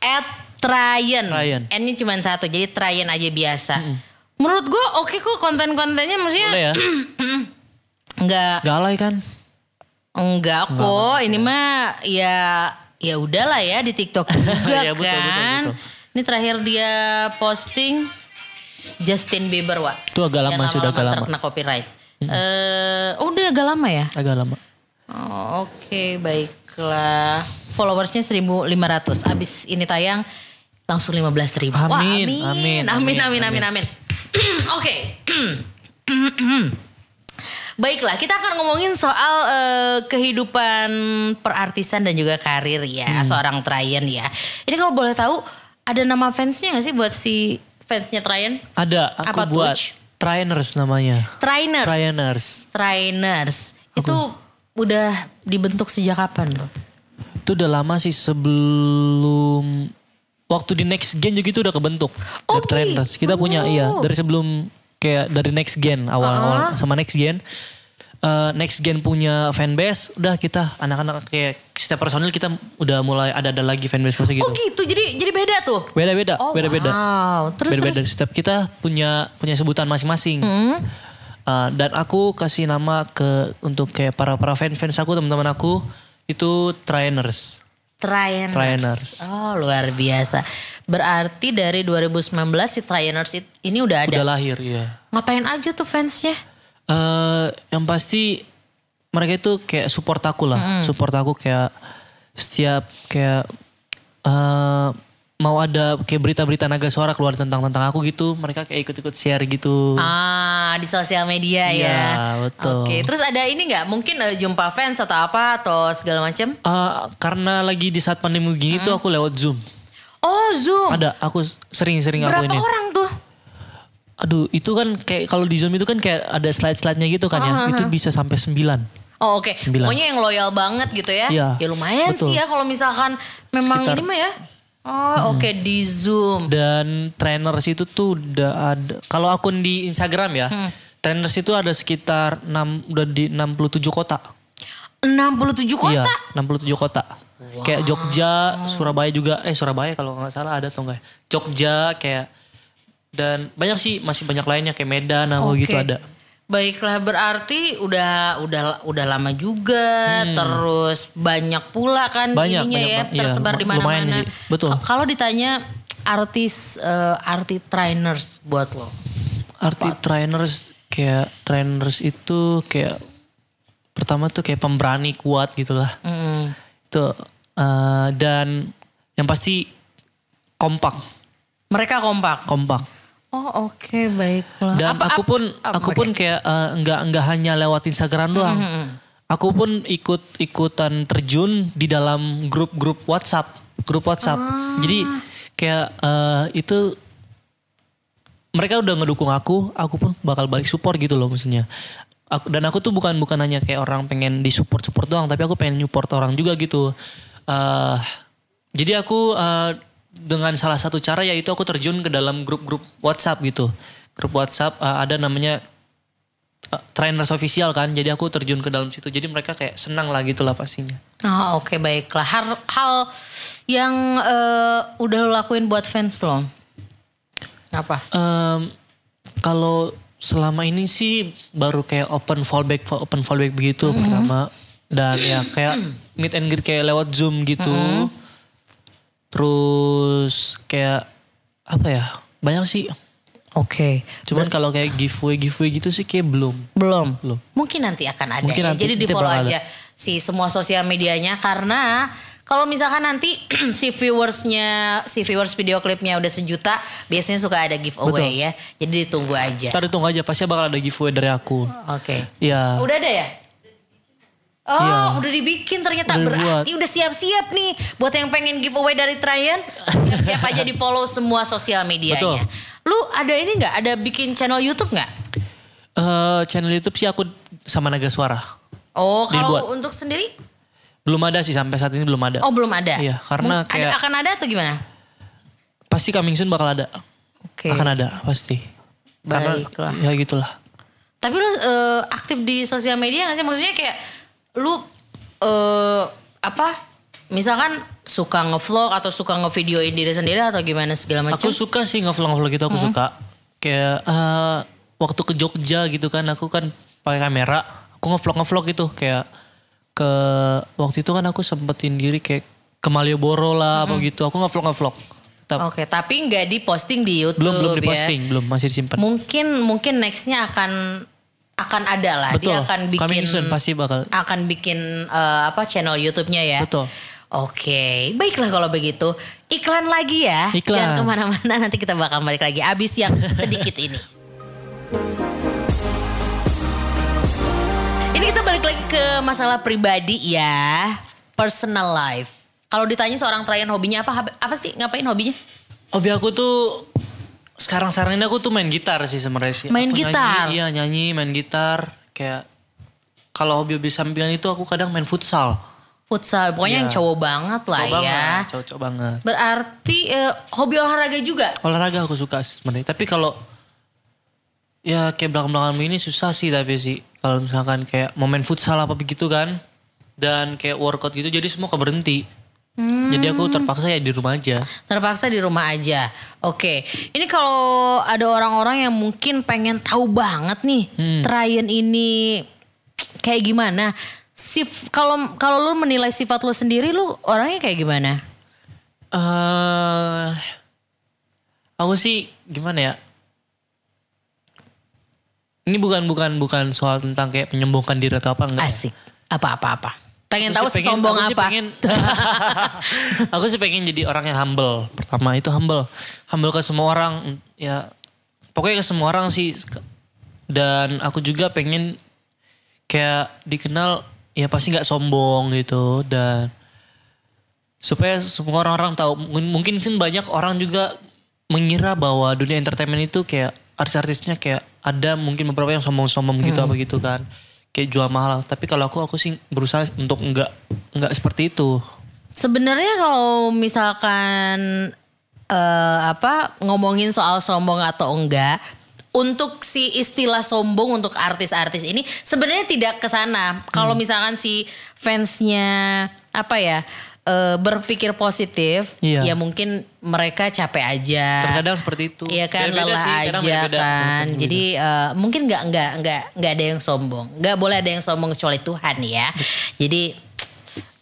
Speaker 2: at Tryan.
Speaker 1: Tryan.
Speaker 2: N-nya cuma satu, jadi Tryan aja biasa. Menurut gue oke kok konten-kontennya maksudnya
Speaker 1: Boleh ya?
Speaker 2: nggak
Speaker 1: Galai kan?
Speaker 2: Enggak kok, ini mah ya ya udahlah ya di TikTok juga
Speaker 1: Ya, betul, betul,
Speaker 2: kan.
Speaker 1: betul.
Speaker 2: Ini terakhir dia posting Justin Bieber wa.
Speaker 1: Itu agak lama
Speaker 2: Yang
Speaker 1: sih, udah agak lama.
Speaker 2: Terkena copyright. Eh, oh, udah agak lama ya.
Speaker 1: Agak lama.
Speaker 2: Oh, Oke, baiklah. Followersnya 1.500. Abis ini tayang langsung 15.000 ribu.
Speaker 1: Amin, amin,
Speaker 2: amin, amin, amin,
Speaker 1: amin,
Speaker 2: amin, amin. Oke. Baiklah, kita akan ngomongin soal eh, kehidupan perartisan dan juga karir
Speaker 1: Hmm.
Speaker 2: ya, seorang Trayan ya. Ini kalau boleh tahu, ada nama fansnya nggak sih buat si fansnya Trayan?
Speaker 1: Ada, aku
Speaker 2: Apa,
Speaker 1: buat
Speaker 2: Tuj?
Speaker 1: trainers namanya.
Speaker 2: Trainers.
Speaker 1: Trainers.
Speaker 2: Trainers. Itu udah dibentuk sejak kapan loh?
Speaker 1: Itu udah lama sih sebelum waktu di next gen juga itu udah kebentuk.
Speaker 2: Oh,
Speaker 1: Dari trainers. Kita
Speaker 2: gitu.
Speaker 1: punya iya dari sebelum kayak dari next gen
Speaker 2: Uh-huh.
Speaker 1: awal-awal sama next gen. Eh, next gen punya fanbase, udah kita anak-anak kayak setiap personil kita udah mulai ada ada lagi fanbase kayak gitu.
Speaker 2: Oh gitu, jadi jadi beda tuh.
Speaker 1: Beda-beda,
Speaker 2: Oh,
Speaker 1: beda-beda.
Speaker 2: Wow. Terus
Speaker 1: beda-beda
Speaker 2: terus. Hmm.
Speaker 1: setiap kita punya punya sebutan masing-masing. Uh, dan aku kasih nama ke untuk kayak para para fans fans aku teman-teman aku itu trainers.
Speaker 2: Trainers.
Speaker 1: Trainers.
Speaker 2: Oh luar biasa. Berarti dari 2019 si Trainers it- ini udah ada.
Speaker 1: Udah lahir ya.
Speaker 2: Ngapain aja tuh fansnya?
Speaker 1: Eh, yang pasti mereka itu kayak support aku lah, support aku kayak setiap kayak eh, mau ada kayak berita-berita naga suara keluar tentang tentang aku gitu, mereka kayak ikut-ikut share gitu.
Speaker 2: Ah di sosial media
Speaker 1: Iya,
Speaker 2: ya.
Speaker 1: betul.
Speaker 2: Oke. Terus ada ini nggak? Mungkin eh, jumpa fans atau apa atau segala macam?
Speaker 1: Eh, karena lagi di saat pandemi gini tuh aku lewat zoom.
Speaker 2: Oh zoom.
Speaker 1: Ada, aku sering-sering aku
Speaker 2: Berapa
Speaker 1: ini.
Speaker 2: orang tuh? Uh-huh,
Speaker 1: Aduh, itu kan kayak kalau di Zoom itu kan kayak ada slide-slide-nya gitu kan ya. Itu bisa sampai 9.
Speaker 2: Oh oke,
Speaker 1: Sembilan.
Speaker 2: pokoknya yang loyal banget gitu ya.
Speaker 1: Iya,
Speaker 2: Ya lumayan
Speaker 1: betul.
Speaker 2: sih ya kalau misalkan memang
Speaker 1: Sekitar- Hmm.
Speaker 2: ini mah ya. Oh oke di Zoom.
Speaker 1: Dan trainers itu tuh udah ada. Kalau akun di Instagram ya, trainers itu ada sekitar 6 udah di 67 kota.
Speaker 2: 67 kota.
Speaker 1: Iya, 67 kota. Kayak Jogja, Surabaya juga. Eh Surabaya kalau nggak salah ada atau enggak. Jogja kayak dan banyak sih masih banyak lainnya kayak Medan atau
Speaker 2: Oke.
Speaker 1: gitu ada.
Speaker 2: Baiklah berarti udah udah udah lama juga terus banyak pula kan
Speaker 1: Hmm. Banyak,
Speaker 2: ininya
Speaker 1: banyak
Speaker 2: ya
Speaker 1: banget. Iya,
Speaker 2: tersebar di
Speaker 1: lumayan
Speaker 2: mana-mana.
Speaker 1: sih. Betul.
Speaker 2: Ka- Kalau ditanya artis eh, arti trainers buat lo.
Speaker 1: Arti trainers kayak trainers itu kayak pertama tuh kayak pemberani kuat gitu lah.
Speaker 2: Mm.
Speaker 1: Itu eh, dan yang pasti kompak,
Speaker 2: Mereka kompak.
Speaker 1: kompak.
Speaker 2: Oh oke baiklah.
Speaker 1: Dan
Speaker 2: Apa-
Speaker 1: aku
Speaker 2: apa-
Speaker 1: pun
Speaker 2: apa- Hmm,
Speaker 1: aku pun kayak eh, nggak nggak hanya lewat Instagram doang. Aku pun ikut ikutan terjun di dalam grup-grup WhatsApp, grup WhatsApp.
Speaker 2: Ah.
Speaker 1: Jadi kayak eh, itu mereka udah ngedukung aku, aku pun bakal balik support gitu loh maksudnya. Aku, dan aku tuh bukan bukan hanya kayak orang pengen disupport support doang, tapi aku pengen support orang juga gitu. eh jadi aku eh, dengan salah satu cara yaitu aku terjun ke dalam grup-grup WhatsApp gitu. Grup WhatsApp eh, ada namanya eh, trainers official kan, jadi aku terjun ke dalam situ. Jadi mereka kayak senang lah gitu lah pastinya.
Speaker 2: Oh, oke baiklah. Hal, hal yang eh, udah lo lakuin buat fans lo. Apa?
Speaker 1: Em, kalau selama ini sih baru kayak open fallback open fallback begitu
Speaker 2: Mm-hmm.
Speaker 1: pertama dan ya kayak meet and greet kayak lewat zoom gitu
Speaker 2: Mm-hmm.
Speaker 1: terus kayak apa ya banyak sih
Speaker 2: Oke.
Speaker 1: cuman kalau kayak giveaway giveaway gitu sih kayak belum
Speaker 2: Belum.
Speaker 1: Belum.
Speaker 2: Mungkin nanti akan ada.
Speaker 1: Mungkin
Speaker 2: ya.
Speaker 1: nanti,
Speaker 2: Jadi di
Speaker 1: nanti
Speaker 2: follow
Speaker 1: bakal ada.
Speaker 2: aja si semua sosial medianya karena kalau misalkan nanti si viewersnya, si viewers video klipnya udah sejuta, biasanya suka ada giveaway ya. Jadi ditunggu aja.
Speaker 1: ntar tunggu aja pasti bakal ada giveaway dari aku
Speaker 2: Oke.
Speaker 1: ya
Speaker 2: Udah ada ya? Oh,
Speaker 1: Iya.
Speaker 2: udah dibikin ternyata
Speaker 1: Udah
Speaker 2: berarti udah siap-siap nih buat yang pengen giveaway dari Tryan. Siap-siap aja di follow semua sosial medianya. Lu ada ini nggak? Ada bikin channel YouTube nggak?
Speaker 1: eh, channel YouTube sih aku sama Naga Suara
Speaker 2: Oh,
Speaker 1: Dibuat.
Speaker 2: kalau untuk sendiri?
Speaker 1: belum ada sih sampai saat ini belum ada
Speaker 2: Oh, belum ada.
Speaker 1: Iya, karena
Speaker 2: Mung-
Speaker 1: kayak-
Speaker 2: ada, akan ada atau gimana?
Speaker 1: pasti coming soon bakal ada
Speaker 2: Oke.
Speaker 1: akan ada pasti
Speaker 2: Baiklah.
Speaker 1: ya gitulah
Speaker 2: Tapi lu eh, aktif di sosial media nggak sih? Maksudnya kayak lu eh, apa? Misalkan suka ngevlog atau suka ngevideoin diri sendiri atau gimana segala macam?
Speaker 1: Aku suka sih ngevlog-ngevlog gitu, aku suka. Kayak eh, waktu ke Jogja gitu kan, aku kan pakai kamera, aku ngevlog-ngevlog gitu kayak ke waktu itu kan aku sempetin diri kayak ke Malioboro lah apa gitu. Aku ngevlog-ngevlog. Tetap
Speaker 2: Oke, tapi nggak diposting di YouTube
Speaker 1: belum belum
Speaker 2: ya. Nah,
Speaker 1: diposting, belum masih disimpan.
Speaker 2: Mungkin mungkin nextnya akan akan ada lah. Dia
Speaker 1: Betul.
Speaker 2: akan bikin ya.
Speaker 1: Coming soon pasti bakal.
Speaker 2: akan bikin eh, apa channel YouTube-nya ya.
Speaker 1: Betul.
Speaker 2: Oke, baiklah kalau begitu. Iklan lagi ya.
Speaker 1: Iklan.
Speaker 2: Jangan kemana-mana, nanti kita bakal balik lagi. Abis yang sedikit ini. Ini kita balik lagi ke masalah pribadi ya. Personal life. Kalau ditanya seorang klien hobinya apa? Apa sih? Ngapain hobinya?
Speaker 1: Hobi aku tuh sekarang sekarang ini aku tuh main gitar sih sebenarnya sih.
Speaker 2: Main
Speaker 1: Aku
Speaker 2: gitar?
Speaker 1: Nyanyi, iya nyanyi, main gitar. Kayak kalau hobi-hobi sampingan itu aku kadang main futsal.
Speaker 2: Futsal, pokoknya yang cowok banget lah
Speaker 1: Cocok
Speaker 2: ya.
Speaker 1: Iya. banget, cocok banget.
Speaker 2: Berarti eh, hobi olahraga juga.
Speaker 1: olahraga aku suka sih sebenarnya tapi kalau ya kayak belakang belakangan ini susah sih tapi sih kalau misalkan kayak mau main futsal apa begitu kan dan kayak workout gitu jadi semua keberhenti jadi aku terpaksa ya di rumah aja
Speaker 2: Terpaksa di rumah aja. Oke, ini kalau ada orang-orang yang mungkin pengen tahu banget nih,
Speaker 1: Hmm.
Speaker 2: Tryan ini kayak gimana? Sif kalau kalau lu menilai sifat lu sendiri, lu orangnya kayak gimana?
Speaker 1: eh aku sih gimana ya ini bukan bukan bukan soal tentang kayak menyombongkan diri atau apa enggak
Speaker 2: Asik. Apa-apa-apa. Pengen
Speaker 1: Nah. Aku
Speaker 2: tahu
Speaker 1: sih pengen-
Speaker 2: sesombong
Speaker 1: aku sih
Speaker 2: apa?
Speaker 1: pengen- aku sih pengen jadi orang yang humble. Pertama itu humble. Humble ke semua orang. Ya pokoknya ke semua orang sih. Dan aku juga pengen kayak dikenal ya pasti nggak sombong gitu dan supaya semua orang-orang tahu Mungkin- mungkin sih banyak orang juga mengira bahwa dunia
Speaker 2: Hmm.
Speaker 1: entertainment itu kayak artis-artisnya kayak ada mungkin beberapa yang sombong-sombong gitu apa gitu kan kayak jual mahal. Tapi kalau aku aku sih berusaha untuk nggak nggak seperti itu.
Speaker 2: Sebenarnya kalau misalkan eh, apa ngomongin soal sombong atau enggak, untuk si istilah sombong untuk artis-artis ini sebenarnya tidak ke sana. Kalau
Speaker 1: Hmm.
Speaker 2: misalkan si fansnya apa ya eh, berpikir positif,
Speaker 1: Iya.
Speaker 2: ya mungkin mereka capek aja.
Speaker 1: Terkadang seperti itu.
Speaker 2: Ah, Iya kan
Speaker 1: Beda-beda
Speaker 2: lelah
Speaker 1: sih, kadang
Speaker 2: aja
Speaker 1: beda-beda.
Speaker 2: kan. Jadi eh, mungkin nggak nggak nggak nggak ada yang sombong. Nggak boleh ada yang sombong kecuali Tuhan ya. Jadi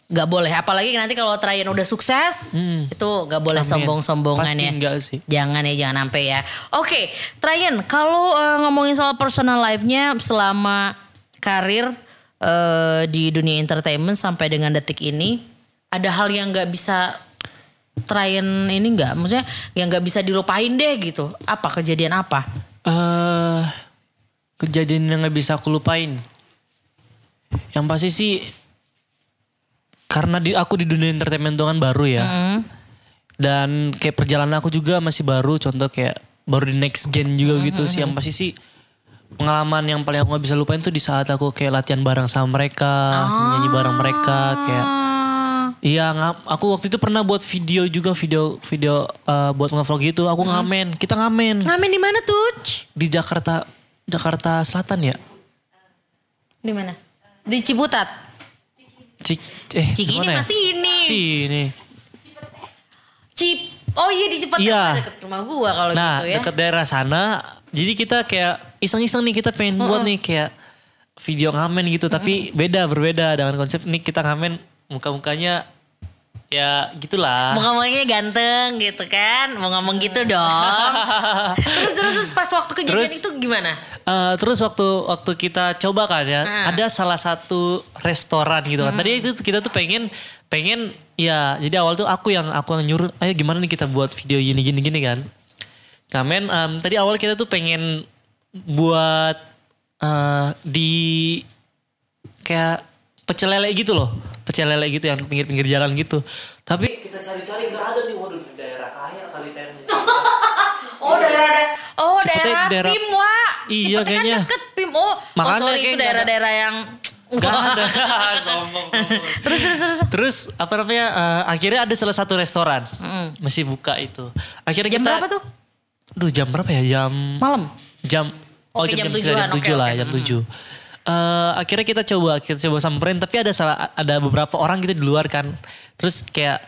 Speaker 2: nggak boleh. Apalagi nanti kalau Trayan udah sukses, itu nggak boleh
Speaker 1: Hmm. Amin.
Speaker 2: sombong-sombongan
Speaker 1: Pasti
Speaker 2: ya.
Speaker 1: enggak sih.
Speaker 2: Jangan ya, jangan sampai ya. Oke, Trayan, kalau eh, ngomongin soal personal life-nya selama karir eh, di dunia entertainment sampai dengan detik ini, ada hal yang nggak bisa Trayan ini nggak, maksudnya yang nggak bisa dilupain deh gitu. Apa kejadian apa?
Speaker 1: eh kejadian yang nggak bisa aku lupain. Yang pasti sih karena di aku di dunia entertainment itu kan baru ya. Dan kayak perjalanan aku juga masih baru. Contoh kayak baru di next gen juga
Speaker 2: Hmm,
Speaker 1: gitu sih. Yang pasti sih pengalaman yang paling aku nggak bisa lupain tuh di saat aku kayak latihan bareng sama mereka, nyanyi bareng mereka, kayak
Speaker 2: Ah,
Speaker 1: Iya, ngam- aku waktu itu pernah buat video juga video video eh, buat ngevlog gitu. Aku
Speaker 2: Hmm.
Speaker 1: ngamen, kita ngamen
Speaker 2: ngamen di mana tuh?
Speaker 1: di Jakarta Jakarta Selatan ya
Speaker 2: Di mana? Di Ciputat.
Speaker 1: Cik, eh,
Speaker 2: Ciki ini
Speaker 1: gimana ya?
Speaker 2: masih ini.
Speaker 1: sini
Speaker 2: Cip. Oh iya di Ciputat
Speaker 1: Iya.
Speaker 2: deket rumah gua kalau
Speaker 1: nah
Speaker 2: gitu ya.
Speaker 1: deket daerah sana jadi kita kayak iseng-iseng nih kita pengen buat nih kayak video ngamen gitu tapi beda berbeda dengan konsep nih kita ngamen muka-mukanya ya gitulah
Speaker 2: Muka-mukanya ganteng gitu kan. Mau ngomong gitu dong. terus, terus terus pas waktu kejadian
Speaker 1: Terus-
Speaker 2: itu gimana?
Speaker 1: Eh, terus waktu waktu kita coba kan ya,
Speaker 2: Ah.
Speaker 1: ada salah satu restoran gitu kan. Tadi itu kita tuh pengen pengen ya jadi awal tuh aku yang aku yang nyuruh, ayo gimana nih kita buat video gini gini gini kan. Kamen em, tadi awal kita tuh pengen buat eh, di kayak pecel lele gitu loh. Pecel lele gitu yang pinggir-pinggir jalan gitu. Tapi kita cari-cari nggak ada nih waduh di daerah kaya kali kayaknya.
Speaker 2: Oh daerah daerah Oh daerah,
Speaker 1: Cipete daerah-
Speaker 2: Pim wa.
Speaker 1: Iya,
Speaker 2: Cipete
Speaker 1: kayaknya.
Speaker 2: kan deket Pim. Oh, oh
Speaker 1: Makanya
Speaker 2: sorry
Speaker 1: kayak
Speaker 2: itu
Speaker 1: nggak ada.
Speaker 2: daerah-daerah yang Oh,
Speaker 1: Gak ada. Sombong, sombong.
Speaker 2: terus terus terus.
Speaker 1: Terus apa namanya? eh, akhirnya ada salah satu restoran masih buka itu. Akhirnya
Speaker 2: Jam
Speaker 1: kita. Hmm.
Speaker 2: berapa tuh?
Speaker 1: Duh jam berapa ya? Jam
Speaker 2: Malam.
Speaker 1: jam.
Speaker 2: Oke, jam
Speaker 1: tujuh,
Speaker 2: tujuan.
Speaker 1: jam
Speaker 2: Oke,
Speaker 1: tujuh lah,
Speaker 2: oke.
Speaker 1: jam tujuh. Eh, akhirnya kita coba, kita coba samperin. Tapi ada salah, ada beberapa orang gitu di luar kan. Terus kayak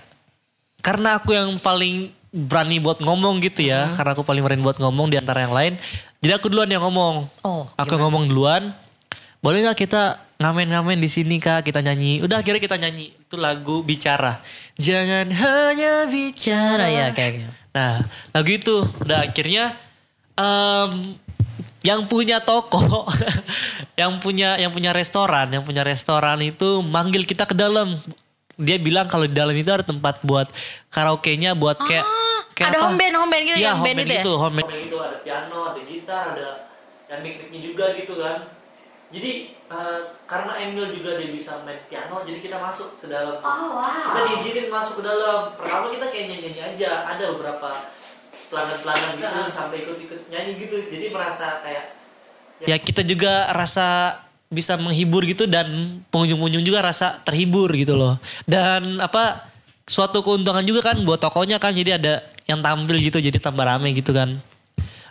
Speaker 1: karena aku yang paling berani buat ngomong gitu ya, karena aku paling berani buat ngomong di antara yang lain. Jadi aku duluan yang ngomong.
Speaker 2: Oh,
Speaker 1: Aku yang ngomong duluan. Boleh nggak kita ngamen-ngamen di sini kak? Kita nyanyi. Udah akhirnya kita nyanyi itu lagu bicara. Jangan hanya bicara.
Speaker 2: Cara ya kayak gitu.
Speaker 1: Nah lagu itu udah akhirnya em, yang punya toko, yang punya yang punya restoran, yang punya restoran itu manggil kita ke dalam. Dia bilang kalau di dalam itu ada tempat buat karaoke-nya buat kayak, kayak
Speaker 2: Ah, ada
Speaker 1: apa?
Speaker 2: home band, home band gitu,
Speaker 1: Iya,
Speaker 2: yang
Speaker 1: home
Speaker 2: band
Speaker 1: band
Speaker 2: itu ya?
Speaker 1: gitu, home band gitu ada piano, ada gitar, ada yang mic-micnya juga gitu kan. Jadi eh, karena Emil juga dia bisa main piano, jadi kita masuk ke dalam.
Speaker 2: Oh,
Speaker 1: Kita diizinin masuk ke dalam. Pertama kita kayak nyanyi-nyanyi aja. Ada beberapa pelanggan-pelanggan gitu sampai ikut-ikut nyanyi gitu. Jadi merasa kayak ya kita juga rasa bisa menghibur gitu dan pengunjung-pengunjung juga rasa terhibur gitu loh. Dan apa suatu keuntungan juga kan buat tokonya kan jadi ada yang tampil gitu jadi tambah rame gitu kan.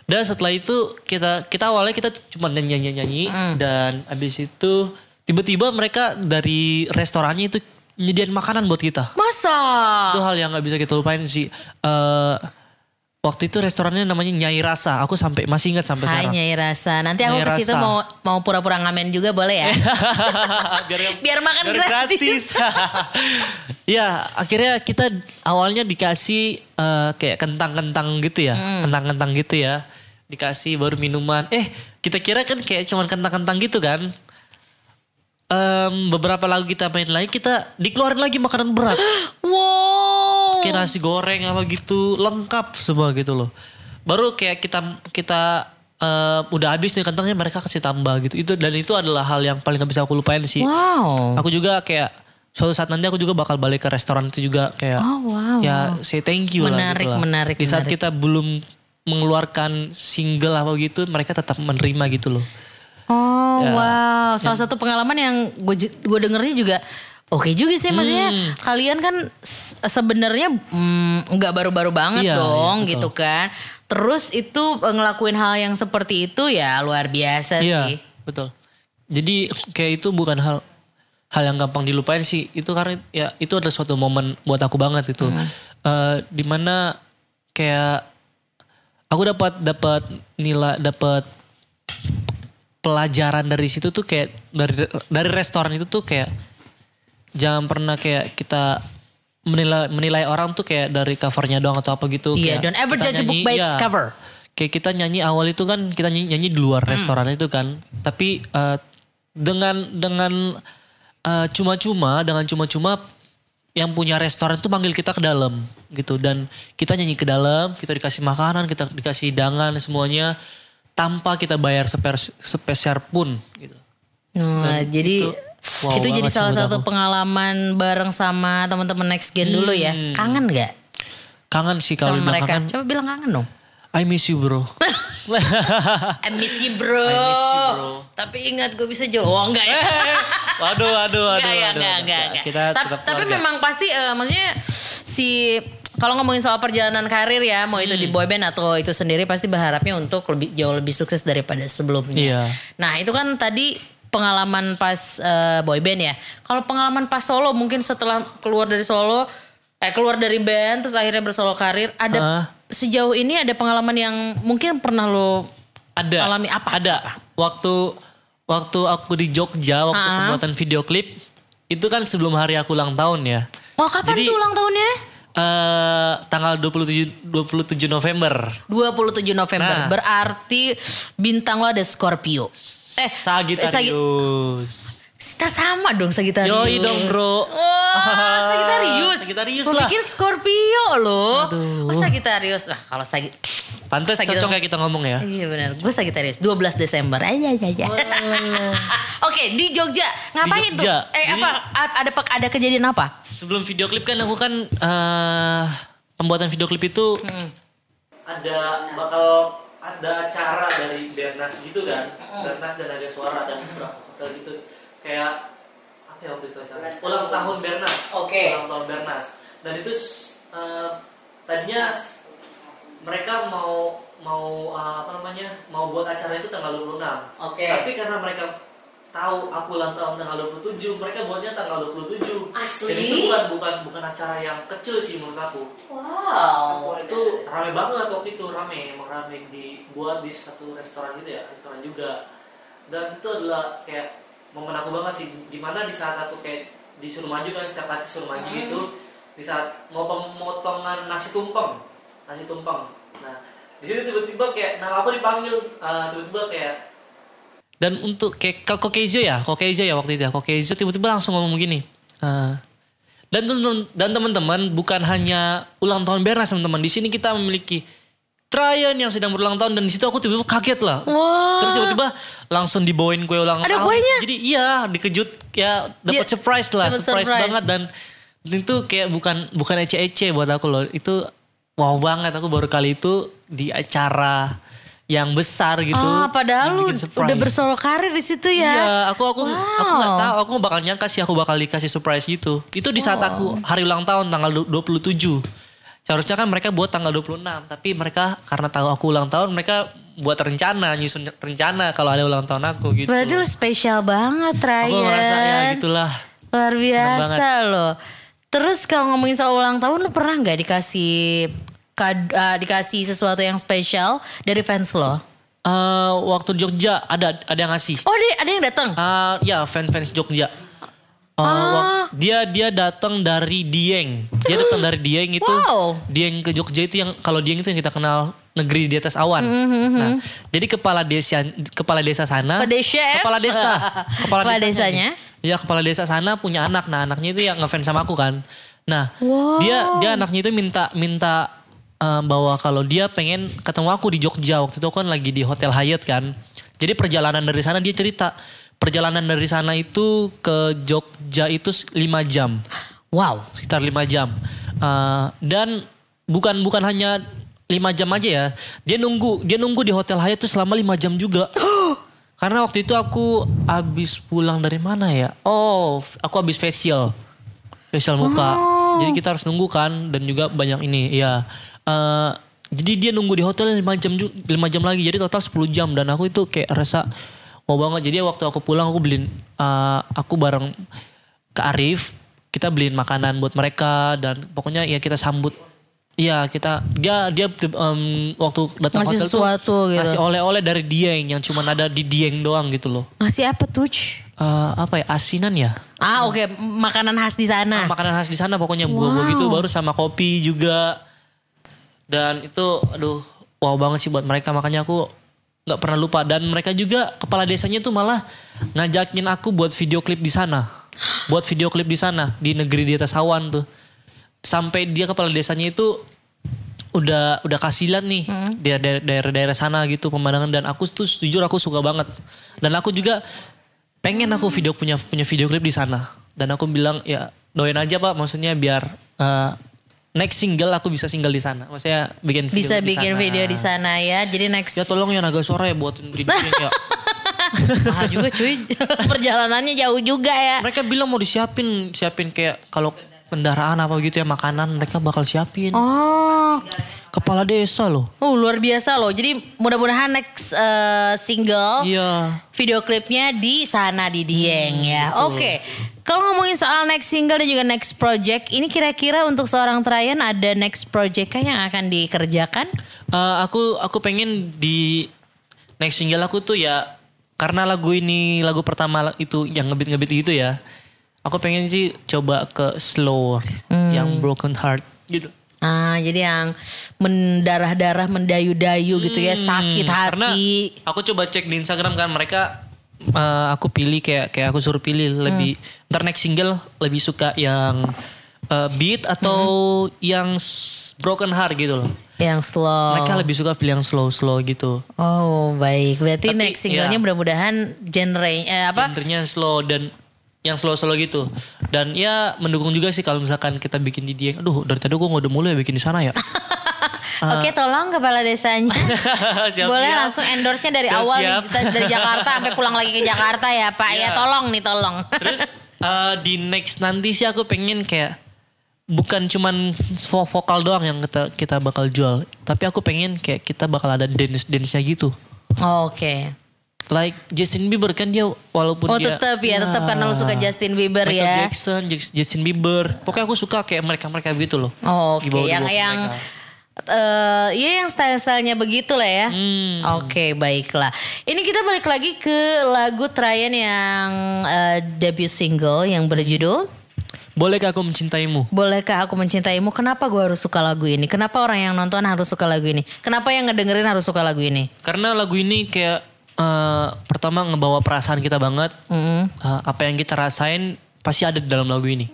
Speaker 1: Dan setelah itu kita kita awalnya kita cuma nyanyi-nyanyi dan abis itu tiba-tiba mereka dari restorannya itu nyediain makanan buat kita
Speaker 2: Masa?
Speaker 1: itu hal yang nggak bisa kita lupain sih Eh, waktu itu restorannya namanya Nyai Rasa aku sampai masih ingat sampai
Speaker 2: Hai
Speaker 1: sekarang
Speaker 2: Nyai Rasa. Nanti aku
Speaker 1: Nyai
Speaker 2: ke situ
Speaker 1: Rasa.
Speaker 2: mau mau pura-pura ngamen juga boleh ya?
Speaker 1: biar yang-
Speaker 2: Biar makan
Speaker 1: biar
Speaker 2: gratis.
Speaker 1: ya akhirnya kita awalnya dikasih eh, kayak kentang-kentang gitu ya
Speaker 2: Hmm.
Speaker 1: kentang-kentang gitu ya dikasih baru minuman eh kita kira kan kayak cuman kentang-kentang gitu kan Em, beberapa lagu kita main lagi kita dikeluarin lagi makanan berat
Speaker 2: wow.
Speaker 1: kayak nasi goreng apa gitu lengkap semua gitu loh baru kayak kita kita eh, udah habis nih kentangnya mereka kasih tambah gitu itu dan itu adalah hal yang paling gak bisa aku lupain sih
Speaker 2: Wow.
Speaker 1: aku juga kayak suatu saat nanti aku juga bakal balik ke restoran itu juga kayak
Speaker 2: Oh, wow.
Speaker 1: ya say thank you lah
Speaker 2: Menarik,
Speaker 1: gitu lah.
Speaker 2: menarik,
Speaker 1: di saat
Speaker 2: menarik.
Speaker 1: kita belum mengeluarkan single apa gitu mereka tetap menerima gitu loh
Speaker 2: Oh
Speaker 1: Ya.
Speaker 2: wow, salah satu pengalaman yang gue gue dengernya juga oke juga sih maksudnya
Speaker 1: Hmm.
Speaker 2: kalian kan s- sebenarnya mm, nggak baru-baru banget
Speaker 1: Iya, iya,
Speaker 2: dong
Speaker 1: betul.
Speaker 2: gitu kan. Terus itu eh, ngelakuin hal yang seperti itu ya luar biasa
Speaker 1: Iya,
Speaker 2: sih.
Speaker 1: betul. Jadi kayak itu bukan hal hal yang gampang dilupain sih. Itu karena ya itu adalah suatu momen buat aku banget itu.
Speaker 2: Hmm.
Speaker 1: Eh, dimana kayak aku dapat dapat nilai dapat pelajaran dari situ tuh kayak dari dari restoran itu tuh kayak jangan pernah kayak kita menilai menilai orang tuh kayak dari covernya doang atau apa gitu.
Speaker 2: Iya,
Speaker 1: Kayak
Speaker 2: don't ever
Speaker 1: kita
Speaker 2: judge a book
Speaker 1: nyanyi,
Speaker 2: by its
Speaker 1: iya.
Speaker 2: cover.
Speaker 1: Kayak kita nyanyi awal itu kan kita nyanyi, nyanyi di luar restoran itu kan. Tapi eh, dengan dengan eh, cuma-cuma dengan cuma-cuma yang punya restoran itu manggil kita ke dalam gitu dan kita nyanyi ke dalam, kita dikasih makanan, kita dikasih hidangan semuanya tanpa kita bayar seper- sepeser pun gitu.
Speaker 2: Nah, jadi itu,
Speaker 1: itu wow
Speaker 2: jadi
Speaker 1: banget sih
Speaker 2: salah
Speaker 1: buat
Speaker 2: satu pengalaman bareng sama teman-teman next gen dulu ya. Kangen nggak
Speaker 1: Kangen sih Hmm. kalau dibilang
Speaker 2: sama mereka?
Speaker 1: kangen.
Speaker 2: Coba bilang kangen dong.
Speaker 1: I miss you bro.
Speaker 2: I miss you bro. Tapi ingat gue bisa jual. Oh enggak ya.
Speaker 1: waduh, waduh, waduh.
Speaker 2: Enggak,
Speaker 1: waduh, waduh.
Speaker 2: ya, enggak, enggak, enggak.
Speaker 1: Kita
Speaker 2: Ta-
Speaker 1: tetap
Speaker 2: tapi
Speaker 1: keluarga.
Speaker 2: memang pasti eh, maksudnya si kalau ngomongin soal perjalanan karir ya, mau itu di
Speaker 1: Hmm.
Speaker 2: boyband atau itu sendiri pasti berharapnya untuk lebih jauh lebih sukses daripada sebelumnya.
Speaker 1: Iya.
Speaker 2: Nah, itu kan tadi pengalaman pas eh, boyband ya. Kalau pengalaman pas solo mungkin setelah keluar dari solo eh keluar dari band terus akhirnya bersolo karir, ada
Speaker 1: Ah.
Speaker 2: sejauh ini ada pengalaman yang mungkin pernah lo
Speaker 1: ada
Speaker 2: alami apa?
Speaker 1: ada waktu waktu aku di Jogja waktu
Speaker 2: Ah.
Speaker 1: pembuatan video klip itu kan sebelum hari aku ulang tahun ya
Speaker 2: Oh, kapan
Speaker 1: Jadi-
Speaker 2: tuh ulang tahunnya?
Speaker 1: eh tanggal 27 27 November
Speaker 2: 27 November.
Speaker 1: Nah.
Speaker 2: Berarti bintang lo ada Scorpio. Eh, Sagi-
Speaker 1: Sagitarius
Speaker 2: Kita sama dong Sagittarius.
Speaker 1: Yoi dong, bro.
Speaker 2: Wah, Sagittarius.
Speaker 1: Sagittarius
Speaker 2: Gua
Speaker 1: lah.
Speaker 2: pikir Scorpio loh. Oh, Sagittarius. Nah, kalau Sagi
Speaker 1: pantas
Speaker 2: Sagittarius.
Speaker 1: cocok kayak kita ngomong ya
Speaker 2: Iya benar. Gue Sagittarius 12 Desember. Aja aja aja. Oke, di Jogja. Ngapain
Speaker 1: Jogja.
Speaker 2: tuh? Eh,
Speaker 1: Jadi-
Speaker 2: apa A- ada pe- ada kejadian apa?
Speaker 1: sebelum video klip kan aku kan eh pembuatan video klip
Speaker 2: Hmm.
Speaker 1: itu ada bakal ada acara dari Bernas gitu kan Bernas dan ada suara dan beberapa hotel gitu kayak apa ya waktu itu acara ulang tahun Bernas
Speaker 2: Oke.
Speaker 1: ulang tahun Bernas dan itu s- eh, tadinya mereka mau mau eh, apa namanya mau buat acara itu tanggal 26
Speaker 2: Oke.
Speaker 1: tapi karena mereka tahu aku ulang tahun tanggal 27 mereka buatnya tanggal 27
Speaker 2: Asli?
Speaker 1: jadi itu bukan bukan bukan acara yang kecil sih menurut aku
Speaker 2: Wow.
Speaker 1: Waktu itu rame banget waktu itu rame emang rame dibuat di satu restoran gitu ya restoran juga dan itu adalah kayak momen aku banget sih dimana di saat aku kayak disuruh maju kan setiap hari disuruh maju gitu di saat mau pemotongan nasi tumpeng nasi tumpeng nah di situ tiba-tiba kayak nama aku dipanggil eh, tiba-tiba kayak dan untuk kayak Ko- Kokejo ya Kokejo ya waktu itu ya Kokejo tiba-tiba langsung ngomong begini eh, dan temen- dan teman-teman bukan hanya ulang tahun Bernas teman-teman di sini kita memiliki Tryon yang sedang berulang tahun dan di situ aku tiba-tiba kaget lah.
Speaker 2: Wah.
Speaker 1: Terus tiba-tiba langsung dibawain kue ulang
Speaker 2: Ada
Speaker 1: tahun.
Speaker 2: kuenya?
Speaker 1: Jadi iya dikejut ya dapat
Speaker 2: Iya,
Speaker 1: surprise lah,
Speaker 2: dapet
Speaker 1: surprise,
Speaker 2: surprise.
Speaker 1: banget dan itu kayak bukan bukan ece-ece buat aku loh. Itu wow banget aku baru kali itu di acara yang besar gitu.
Speaker 2: Ah, padahal lu
Speaker 1: dibikin surprise.
Speaker 2: udah bersolo karir di situ ya.
Speaker 1: Iya, aku aku aku nggak
Speaker 2: Wow.
Speaker 1: tahu, aku nggak bakal nyangka sih aku bakal dikasih surprise gitu. Itu di saat aku hari ulang tahun tanggal du- 27. Seharusnya kan mereka buat tanggal 26, tapi mereka karena tahu aku ulang tahun, mereka buat rencana, nyusun rencana kalau ada ulang tahun aku gitu.
Speaker 2: Berarti lu spesial banget, Ryan.
Speaker 1: aku merasa ya gitulah.
Speaker 2: Luar
Speaker 1: banget.
Speaker 2: biasa loh. Terus kalau ngomongin soal ulang tahun, lu pernah nggak dikasih kad- eh, dikasih sesuatu yang spesial dari fans lo?
Speaker 1: Eh, waktu di Jogja ada ada yang ngasih.
Speaker 2: Oh, ada, ada yang datang.
Speaker 1: Eh, ya fans-fans Jogja. Eh, wak- dia dia datang dari Dieng. Dia datang dari Dieng itu.
Speaker 2: Wow.
Speaker 1: Dieng ke Jogja itu yang kalau Dieng itu yang kita kenal negeri di atas awan. Nah, jadi kepala desa kepala desa sana.
Speaker 2: Kepala desa ya?
Speaker 1: Kepala desa. Kepala,
Speaker 2: Kepala
Speaker 1: desanya. Ya kepala desa sana punya anak. Nah anaknya itu yang ngefans sama aku kan. Nah dia dia anaknya itu minta minta eh, bahwa kalau dia pengen ketemu aku di Jogja waktu itu aku kan lagi di Hotel Hyatt kan. Jadi perjalanan dari sana dia cerita perjalanan dari sana itu ke Jogja itu 5 jam
Speaker 2: Wow.
Speaker 1: sekitar lima jam Eh, dan bukan bukan hanya lima jam aja ya dia nunggu dia nunggu di hotel Hyatt tuh selama lima jam juga Karena waktu itu aku habis pulang dari mana ya? Oh, f- aku habis facial. Facial muka. Jadi kita harus nunggu kan dan juga banyak ini, iya. Eh, jadi dia nunggu di hotel 5 jam ju- lima jam lagi. Jadi total 10 jam dan aku itu kayak rasa mau banget. Jadi waktu aku pulang aku beliin eh, aku bareng ke Arif, kita beliin makanan buat mereka dan pokoknya ya kita sambut Iya kita dia dia em, waktu datang
Speaker 2: Ngasih
Speaker 1: hotel
Speaker 2: sesuatu
Speaker 1: tuh
Speaker 2: gitu.
Speaker 1: ngasih oleh-oleh dari Dieng yang cuma ada di Dieng doang gitu loh.
Speaker 3: Ngasih apa tuh? Ci?
Speaker 1: Eh, apa ya asinan ya
Speaker 2: Ah oke makanan khas di sana.
Speaker 1: makanan khas di sana pokoknya buah-buah gitu baru sama kopi juga dan itu aduh wow banget sih buat mereka makanya aku nggak pernah lupa dan mereka juga kepala desanya tuh malah ngajakin aku buat video klip di sana buat video klip di sana di negeri di atas awan tuh sampai dia kepala desanya itu udah udah kasilan nih dia daer- daerah-daerah sana gitu pemandangan dan aku tuh jujur aku suka banget dan aku juga pengen aku video punya punya video klip di sana dan aku bilang ya doain aja pak maksudnya biar eh, next single aku bisa single di sana maksudnya bikin video
Speaker 2: Bisa
Speaker 1: klip
Speaker 2: bikin
Speaker 1: sana.
Speaker 2: video di sana ya. Jadi next
Speaker 1: ya tolong ya naga suara ya buatin video ya
Speaker 3: Mahal juga cuy.
Speaker 2: perjalanannya jauh juga ya.
Speaker 1: mereka bilang mau disiapin siapin kayak kalau kendaraan apa gitu ya makanan mereka bakal siapin
Speaker 2: Oh,
Speaker 1: kepala desa loh
Speaker 2: uh, luar biasa loh. Jadi mudah-mudahan next eh, single
Speaker 1: iya
Speaker 2: video klipnya di sana di Dieng ya. Oke. Kalau ngomongin soal next single dan juga next project, ini kira-kira untuk seorang Trayan ada next project kah yang akan dikerjakan?
Speaker 1: Eh, aku aku pengen di next single aku tuh ya karena lagu ini lagu pertama itu yang ngebit-ngebit gitu ya. Aku pengen sih coba ke slower
Speaker 2: Hmm.
Speaker 1: yang broken heart gitu.
Speaker 2: Ah, jadi yang mendarah-darah, mendayu-dayu gitu ya, sakit
Speaker 1: Karena
Speaker 2: hati.
Speaker 1: aku coba cek di Instagram kan mereka eh, aku pilih kayak kayak aku suruh pilih lebih
Speaker 2: Hmm.
Speaker 1: ntar next single lebih suka yang eh, beat
Speaker 2: Hmm.
Speaker 1: atau yang s- broken heart gitu loh.
Speaker 2: yang slow.
Speaker 1: Mereka lebih suka pilih yang slow-slow gitu.
Speaker 2: Oh, baik. Berarti
Speaker 1: Tapi,
Speaker 2: next singlenya
Speaker 1: iya.
Speaker 2: mudah-mudahan genre eh, apa?
Speaker 1: gendernya slow dan yang slow-slow gitu. Dan ya mendukung juga sih kalau misalkan kita bikin di Dieng. Aduh dari tadi gue ngode mulu ya bikin di sana ya.
Speaker 2: Oke, tolong kepala desanya.
Speaker 1: Siap-siap.
Speaker 2: Boleh langsung endorse-nya dari
Speaker 1: Siap-siap.
Speaker 2: awal nih, kita dari Jakarta sampai pulang lagi ke Jakarta ya, Pak. Ya, tolong nih, tolong.
Speaker 1: Terus eh, di next nanti sih aku pengen kayak bukan cuman vo- vokal doang yang kita kita bakal jual, tapi aku pengen kayak kita bakal ada dance dance-nya gitu.
Speaker 2: Oke.
Speaker 1: Like Justin Bieber kan dia walaupun
Speaker 2: Oh,
Speaker 1: dia Nah,
Speaker 2: tetap ya, tetap karena lu suka Justin Bieber
Speaker 1: Michael
Speaker 2: ya.
Speaker 1: Jackson, Jack- Justin Bieber. Pokoknya aku suka kayak mereka-mereka gitu loh.
Speaker 2: Oh, oke.
Speaker 1: Di bawah- di
Speaker 2: Yang
Speaker 1: bawah
Speaker 2: yang
Speaker 1: mereka.
Speaker 2: eh iya yang style-stylenya begitu lah ya.
Speaker 1: Hmm.
Speaker 2: Oke, baiklah. Ini kita balik lagi ke lagu Trayan yang eh, debut single yang berjudul
Speaker 1: Bolehkah aku mencintaimu?
Speaker 2: Bolehkah aku mencintaimu? Kenapa gue harus suka lagu ini? Kenapa orang yang nonton harus suka lagu ini? Kenapa yang ngedengerin harus suka lagu ini?
Speaker 1: Karena lagu ini kayak eh, pertama ngebawa perasaan kita banget.
Speaker 2: Mm-mm.
Speaker 1: Eh, apa yang kita rasain pasti ada di dalam lagu ini.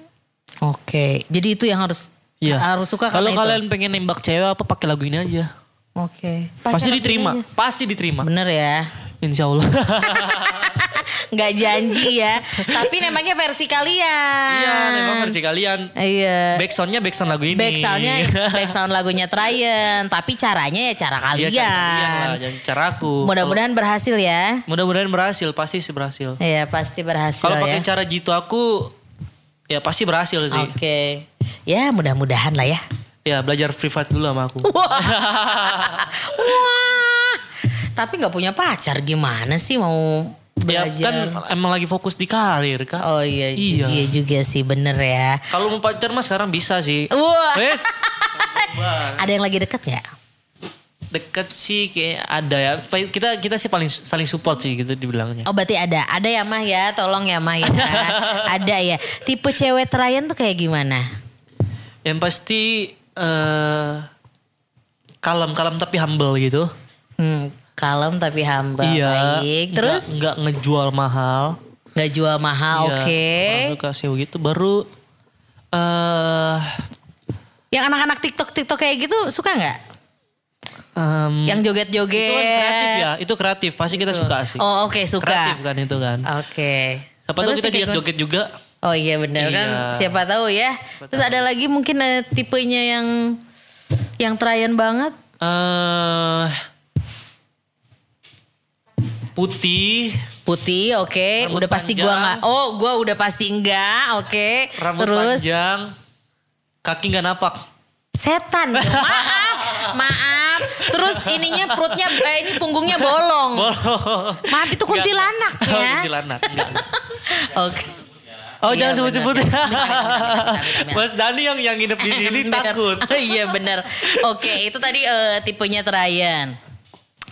Speaker 2: Oke, jadi itu yang harus
Speaker 1: Iya.
Speaker 2: harus suka
Speaker 1: Kalau
Speaker 2: karena itu.
Speaker 1: kalian pengen nembak cewek apa pakai lagu ini aja.
Speaker 2: Oke.
Speaker 1: pasti diterima, pasti diterima.
Speaker 2: Bener ya.
Speaker 1: Insya Allah.
Speaker 2: Nggak janji ya. Tapi namanya versi kalian.
Speaker 1: Iya, memang versi kalian.
Speaker 2: Iya.
Speaker 1: Back soundnya back sound lagu ini. Iya kan?
Speaker 2: Back soundnya back sound lagunya Trayan, tapi caranya ya cara
Speaker 1: Iya,
Speaker 2: kalian.
Speaker 1: cara kalian lah, jangan cara aku.
Speaker 2: Mudah-mudahan berhasil ya.
Speaker 1: Kalau- mudah-mudahan berhasil, pasti sih berhasil.
Speaker 2: Iya pasti berhasil
Speaker 1: Kalau pakai
Speaker 2: ya.
Speaker 1: cara jitu aku, ya pasti berhasil
Speaker 2: Oke.
Speaker 1: sih.
Speaker 2: Ya mudah-mudahan lah ya.
Speaker 1: Ya belajar privat dulu sama aku.
Speaker 2: Uh, Wah. Tapi nggak punya pacar gimana sih mau
Speaker 1: Ya
Speaker 2: belajar?
Speaker 1: kan emang lagi fokus di karir kak.
Speaker 2: Oh iya,
Speaker 1: Iya.
Speaker 2: iya. juga sih bener ya.
Speaker 1: Kalau mau pacar mah sekarang bisa sih.
Speaker 2: Wah.
Speaker 1: Wes.
Speaker 2: Ada yang lagi deket ya?
Speaker 1: Deket sih kayak ada ya. Pa- Kita kita sih paling saling support sih gitu dibilangnya.
Speaker 2: Oh berarti ada, ada ya mah ya, tolong ya mah ya. ada ya. Tipe cewek Trayan tuh kayak gimana?
Speaker 1: Yang pasti eh kalem-kalem tapi humble gitu.
Speaker 2: Hmm, kalem tapi humble,
Speaker 1: Iya.
Speaker 2: baik.
Speaker 1: nggak-
Speaker 2: Terus
Speaker 1: nggak ngejual mahal.
Speaker 2: nggak jual mahal,
Speaker 1: Iya,
Speaker 2: oke.
Speaker 1: baru kasih begitu baru eh
Speaker 2: Yang anak-anak TikTok TikTok kayak gitu suka nggak?
Speaker 1: em,
Speaker 2: Yang joget-joget.
Speaker 1: Hmm. itu kan kreatif ya, itu kreatif pasti kita suka sih.
Speaker 2: Oh oke suka.
Speaker 1: Kreatif kan itu kan.
Speaker 2: Oke.
Speaker 1: Siapa tahu
Speaker 2: Terus
Speaker 1: kita
Speaker 2: yang kayak
Speaker 1: joget-joget juga.
Speaker 2: Oh iya benar kan
Speaker 1: Iya.
Speaker 2: siapa tahu ya. Terus ada lagi mungkin eh, tipenya yang yang Trayan banget.
Speaker 1: eh putih,
Speaker 2: Putih, oke.
Speaker 1: Rambut
Speaker 2: Udah pasti gua
Speaker 1: panjang.
Speaker 2: nggak. Oh, gua udah pasti enggak. Oke.
Speaker 1: rambut
Speaker 2: Terus
Speaker 1: panjang, kaki nggak napak.
Speaker 2: setan. dong. Maaf. Maaf. Terus ininya perutnya eh, ini punggungnya bolong. Maaf itu kuntilanak
Speaker 1: Nggak. Oh,
Speaker 2: ya.
Speaker 1: Kuntilanak, nggak.
Speaker 2: Oke.
Speaker 1: Oh
Speaker 2: Iya,
Speaker 1: jangan sebut-sebut.
Speaker 2: bener, bener. Bentar, bentar, bentar.
Speaker 1: Mas Dani yang yang nginep di sini
Speaker 2: Bener.
Speaker 1: takut.
Speaker 2: Oh, iya benar. Oke, itu tadi eh, tipenya Terayan.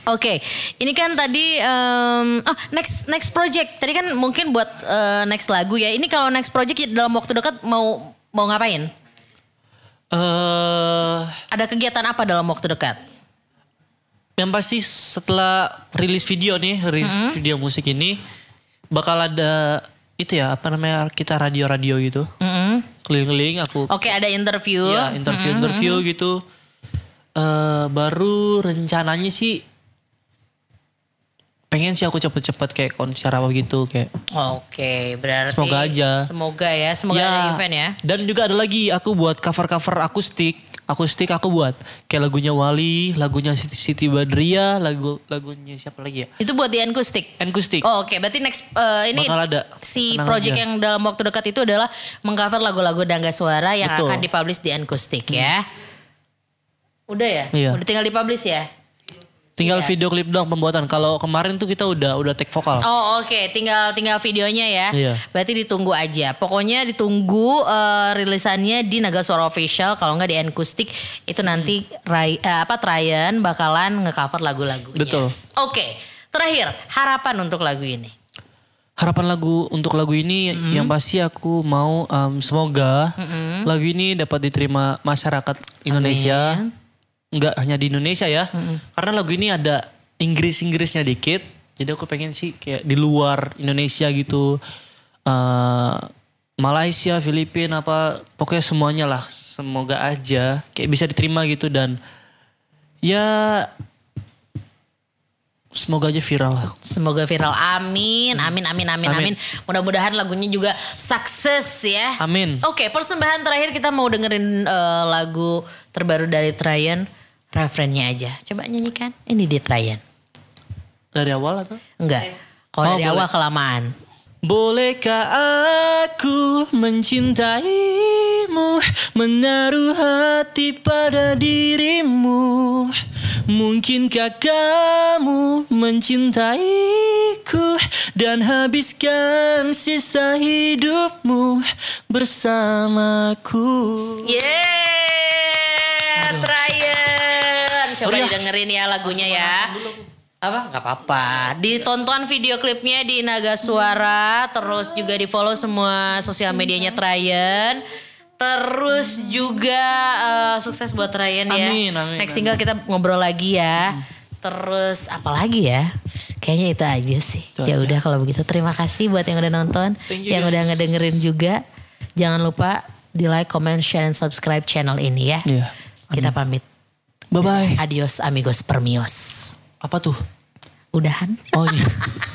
Speaker 2: Oke, ini kan tadi em, oh next next project. Tadi kan mungkin buat eh, next lagu ya. Ini kalau next project ya dalam waktu dekat mau mau ngapain?
Speaker 1: Eh,
Speaker 2: Ada kegiatan apa dalam waktu dekat?
Speaker 1: yang pasti setelah rilis video nih, rilis video musik ini bakal ada itu ya apa namanya kita radio-radio gitu
Speaker 2: Mm-mm.
Speaker 1: keliling-keliling aku
Speaker 2: Oke, ada interview.
Speaker 1: ya interview-interview gitu. Eh baru rencananya sih pengen sih aku cepet-cepet kayak konser apa gitu kayak
Speaker 2: Oke, berarti
Speaker 1: Semoga aja.
Speaker 2: Semoga ya, semoga
Speaker 1: Ya,
Speaker 2: ada event ya.
Speaker 1: Dan juga ada lagi aku buat cover-cover akustik, akustik aku buat kayak lagunya Wali, lagunya Siti, Siti Badria, lagu lagunya siapa lagi ya? Kan
Speaker 2: Itu buat di Acoustic.
Speaker 1: Akustik.
Speaker 2: Oh, Oke, berarti next eh, ini
Speaker 1: Iya. Bakal ada.
Speaker 2: si
Speaker 1: Tenang
Speaker 2: project
Speaker 1: aja.
Speaker 2: yang dalam waktu dekat itu adalah mengcover lagu-lagu Dangga Suara yang
Speaker 1: Betul.
Speaker 2: akan dipublish di Acoustic ya. Udah ya?
Speaker 1: Iya.
Speaker 2: Udah tinggal dipublish ya?
Speaker 1: Tinggal
Speaker 2: Iya.
Speaker 1: video klip doang pembuatan. Kalau kemarin tuh kita udah udah take vokal.
Speaker 2: Oh oke, tinggal tinggal videonya ya.
Speaker 1: Iya.
Speaker 2: Berarti ditunggu aja. Pokoknya ditunggu eh, rilisannya di Naga Suara Official kalau nggak di Acoustic itu nanti Ray- eh, apa Tryan bakalan ngecover lagu-lagunya.
Speaker 1: Betul.
Speaker 2: Oke, terakhir harapan untuk lagu ini.
Speaker 1: Harapan lagu untuk lagu ini
Speaker 2: Mm-hmm.
Speaker 1: yang pasti aku mau em, semoga lagu ini dapat diterima masyarakat Indonesia. Enggak hanya di Indonesia ya. Karena lagu ini ada Inggris-Inggrisnya dikit. Jadi aku pengen sih kayak di luar Indonesia gitu. Eh, Malaysia, Filipina apa pokoknya semuanya lah. Semoga aja kayak bisa diterima gitu dan ya semoga aja viral lah.
Speaker 2: Semoga viral. Amin, amin, amin, amin, amin.
Speaker 1: Amin.
Speaker 2: Mudah-mudahan lagunya juga sukses ya.
Speaker 1: Amin.
Speaker 2: Oke, persembahan terakhir kita mau dengerin eh, lagu terbaru dari Tryan. Refrennya aja. Coba nyanyikan. Ini di Tryan.
Speaker 1: Dari awal atau?
Speaker 2: Enggak.
Speaker 1: Oh,
Speaker 2: Kalau dari
Speaker 1: boleh.
Speaker 2: awal kelamaan.
Speaker 1: Bolehkah aku mencintaimu Menaruh hati pada dirimu Mungkinkah kamu mencintaiku Dan habiskan sisa hidupmu bersamaku
Speaker 2: Yeay, Tryan. Coba
Speaker 1: Aduh, ya.
Speaker 2: didengerin ya lagunya ya. Apa? Gak apa-apa. Ditonton video klipnya di Naga Suara. Terus juga di follow semua sosial medianya Tryan. Terus juga eh, sukses buat Tryan ya.
Speaker 1: Amin, amin, Hmm.
Speaker 2: Next single kita ngobrol lagi ya. Terus apa lagi ya? Kayaknya itu aja sih.
Speaker 1: Itu
Speaker 2: Ya
Speaker 1: aja.
Speaker 2: udah kalau begitu terima kasih buat yang udah nonton,
Speaker 1: Thank you,
Speaker 2: yang udah
Speaker 1: guys.
Speaker 2: ngedengerin juga. Jangan lupa di like, comment, share, and subscribe channel ini ya.
Speaker 1: Iya.
Speaker 2: Kita pamit.
Speaker 1: Bye-bye
Speaker 2: Adios amigos permios.
Speaker 1: Apa tuh?
Speaker 2: Udahan.
Speaker 1: Oh iya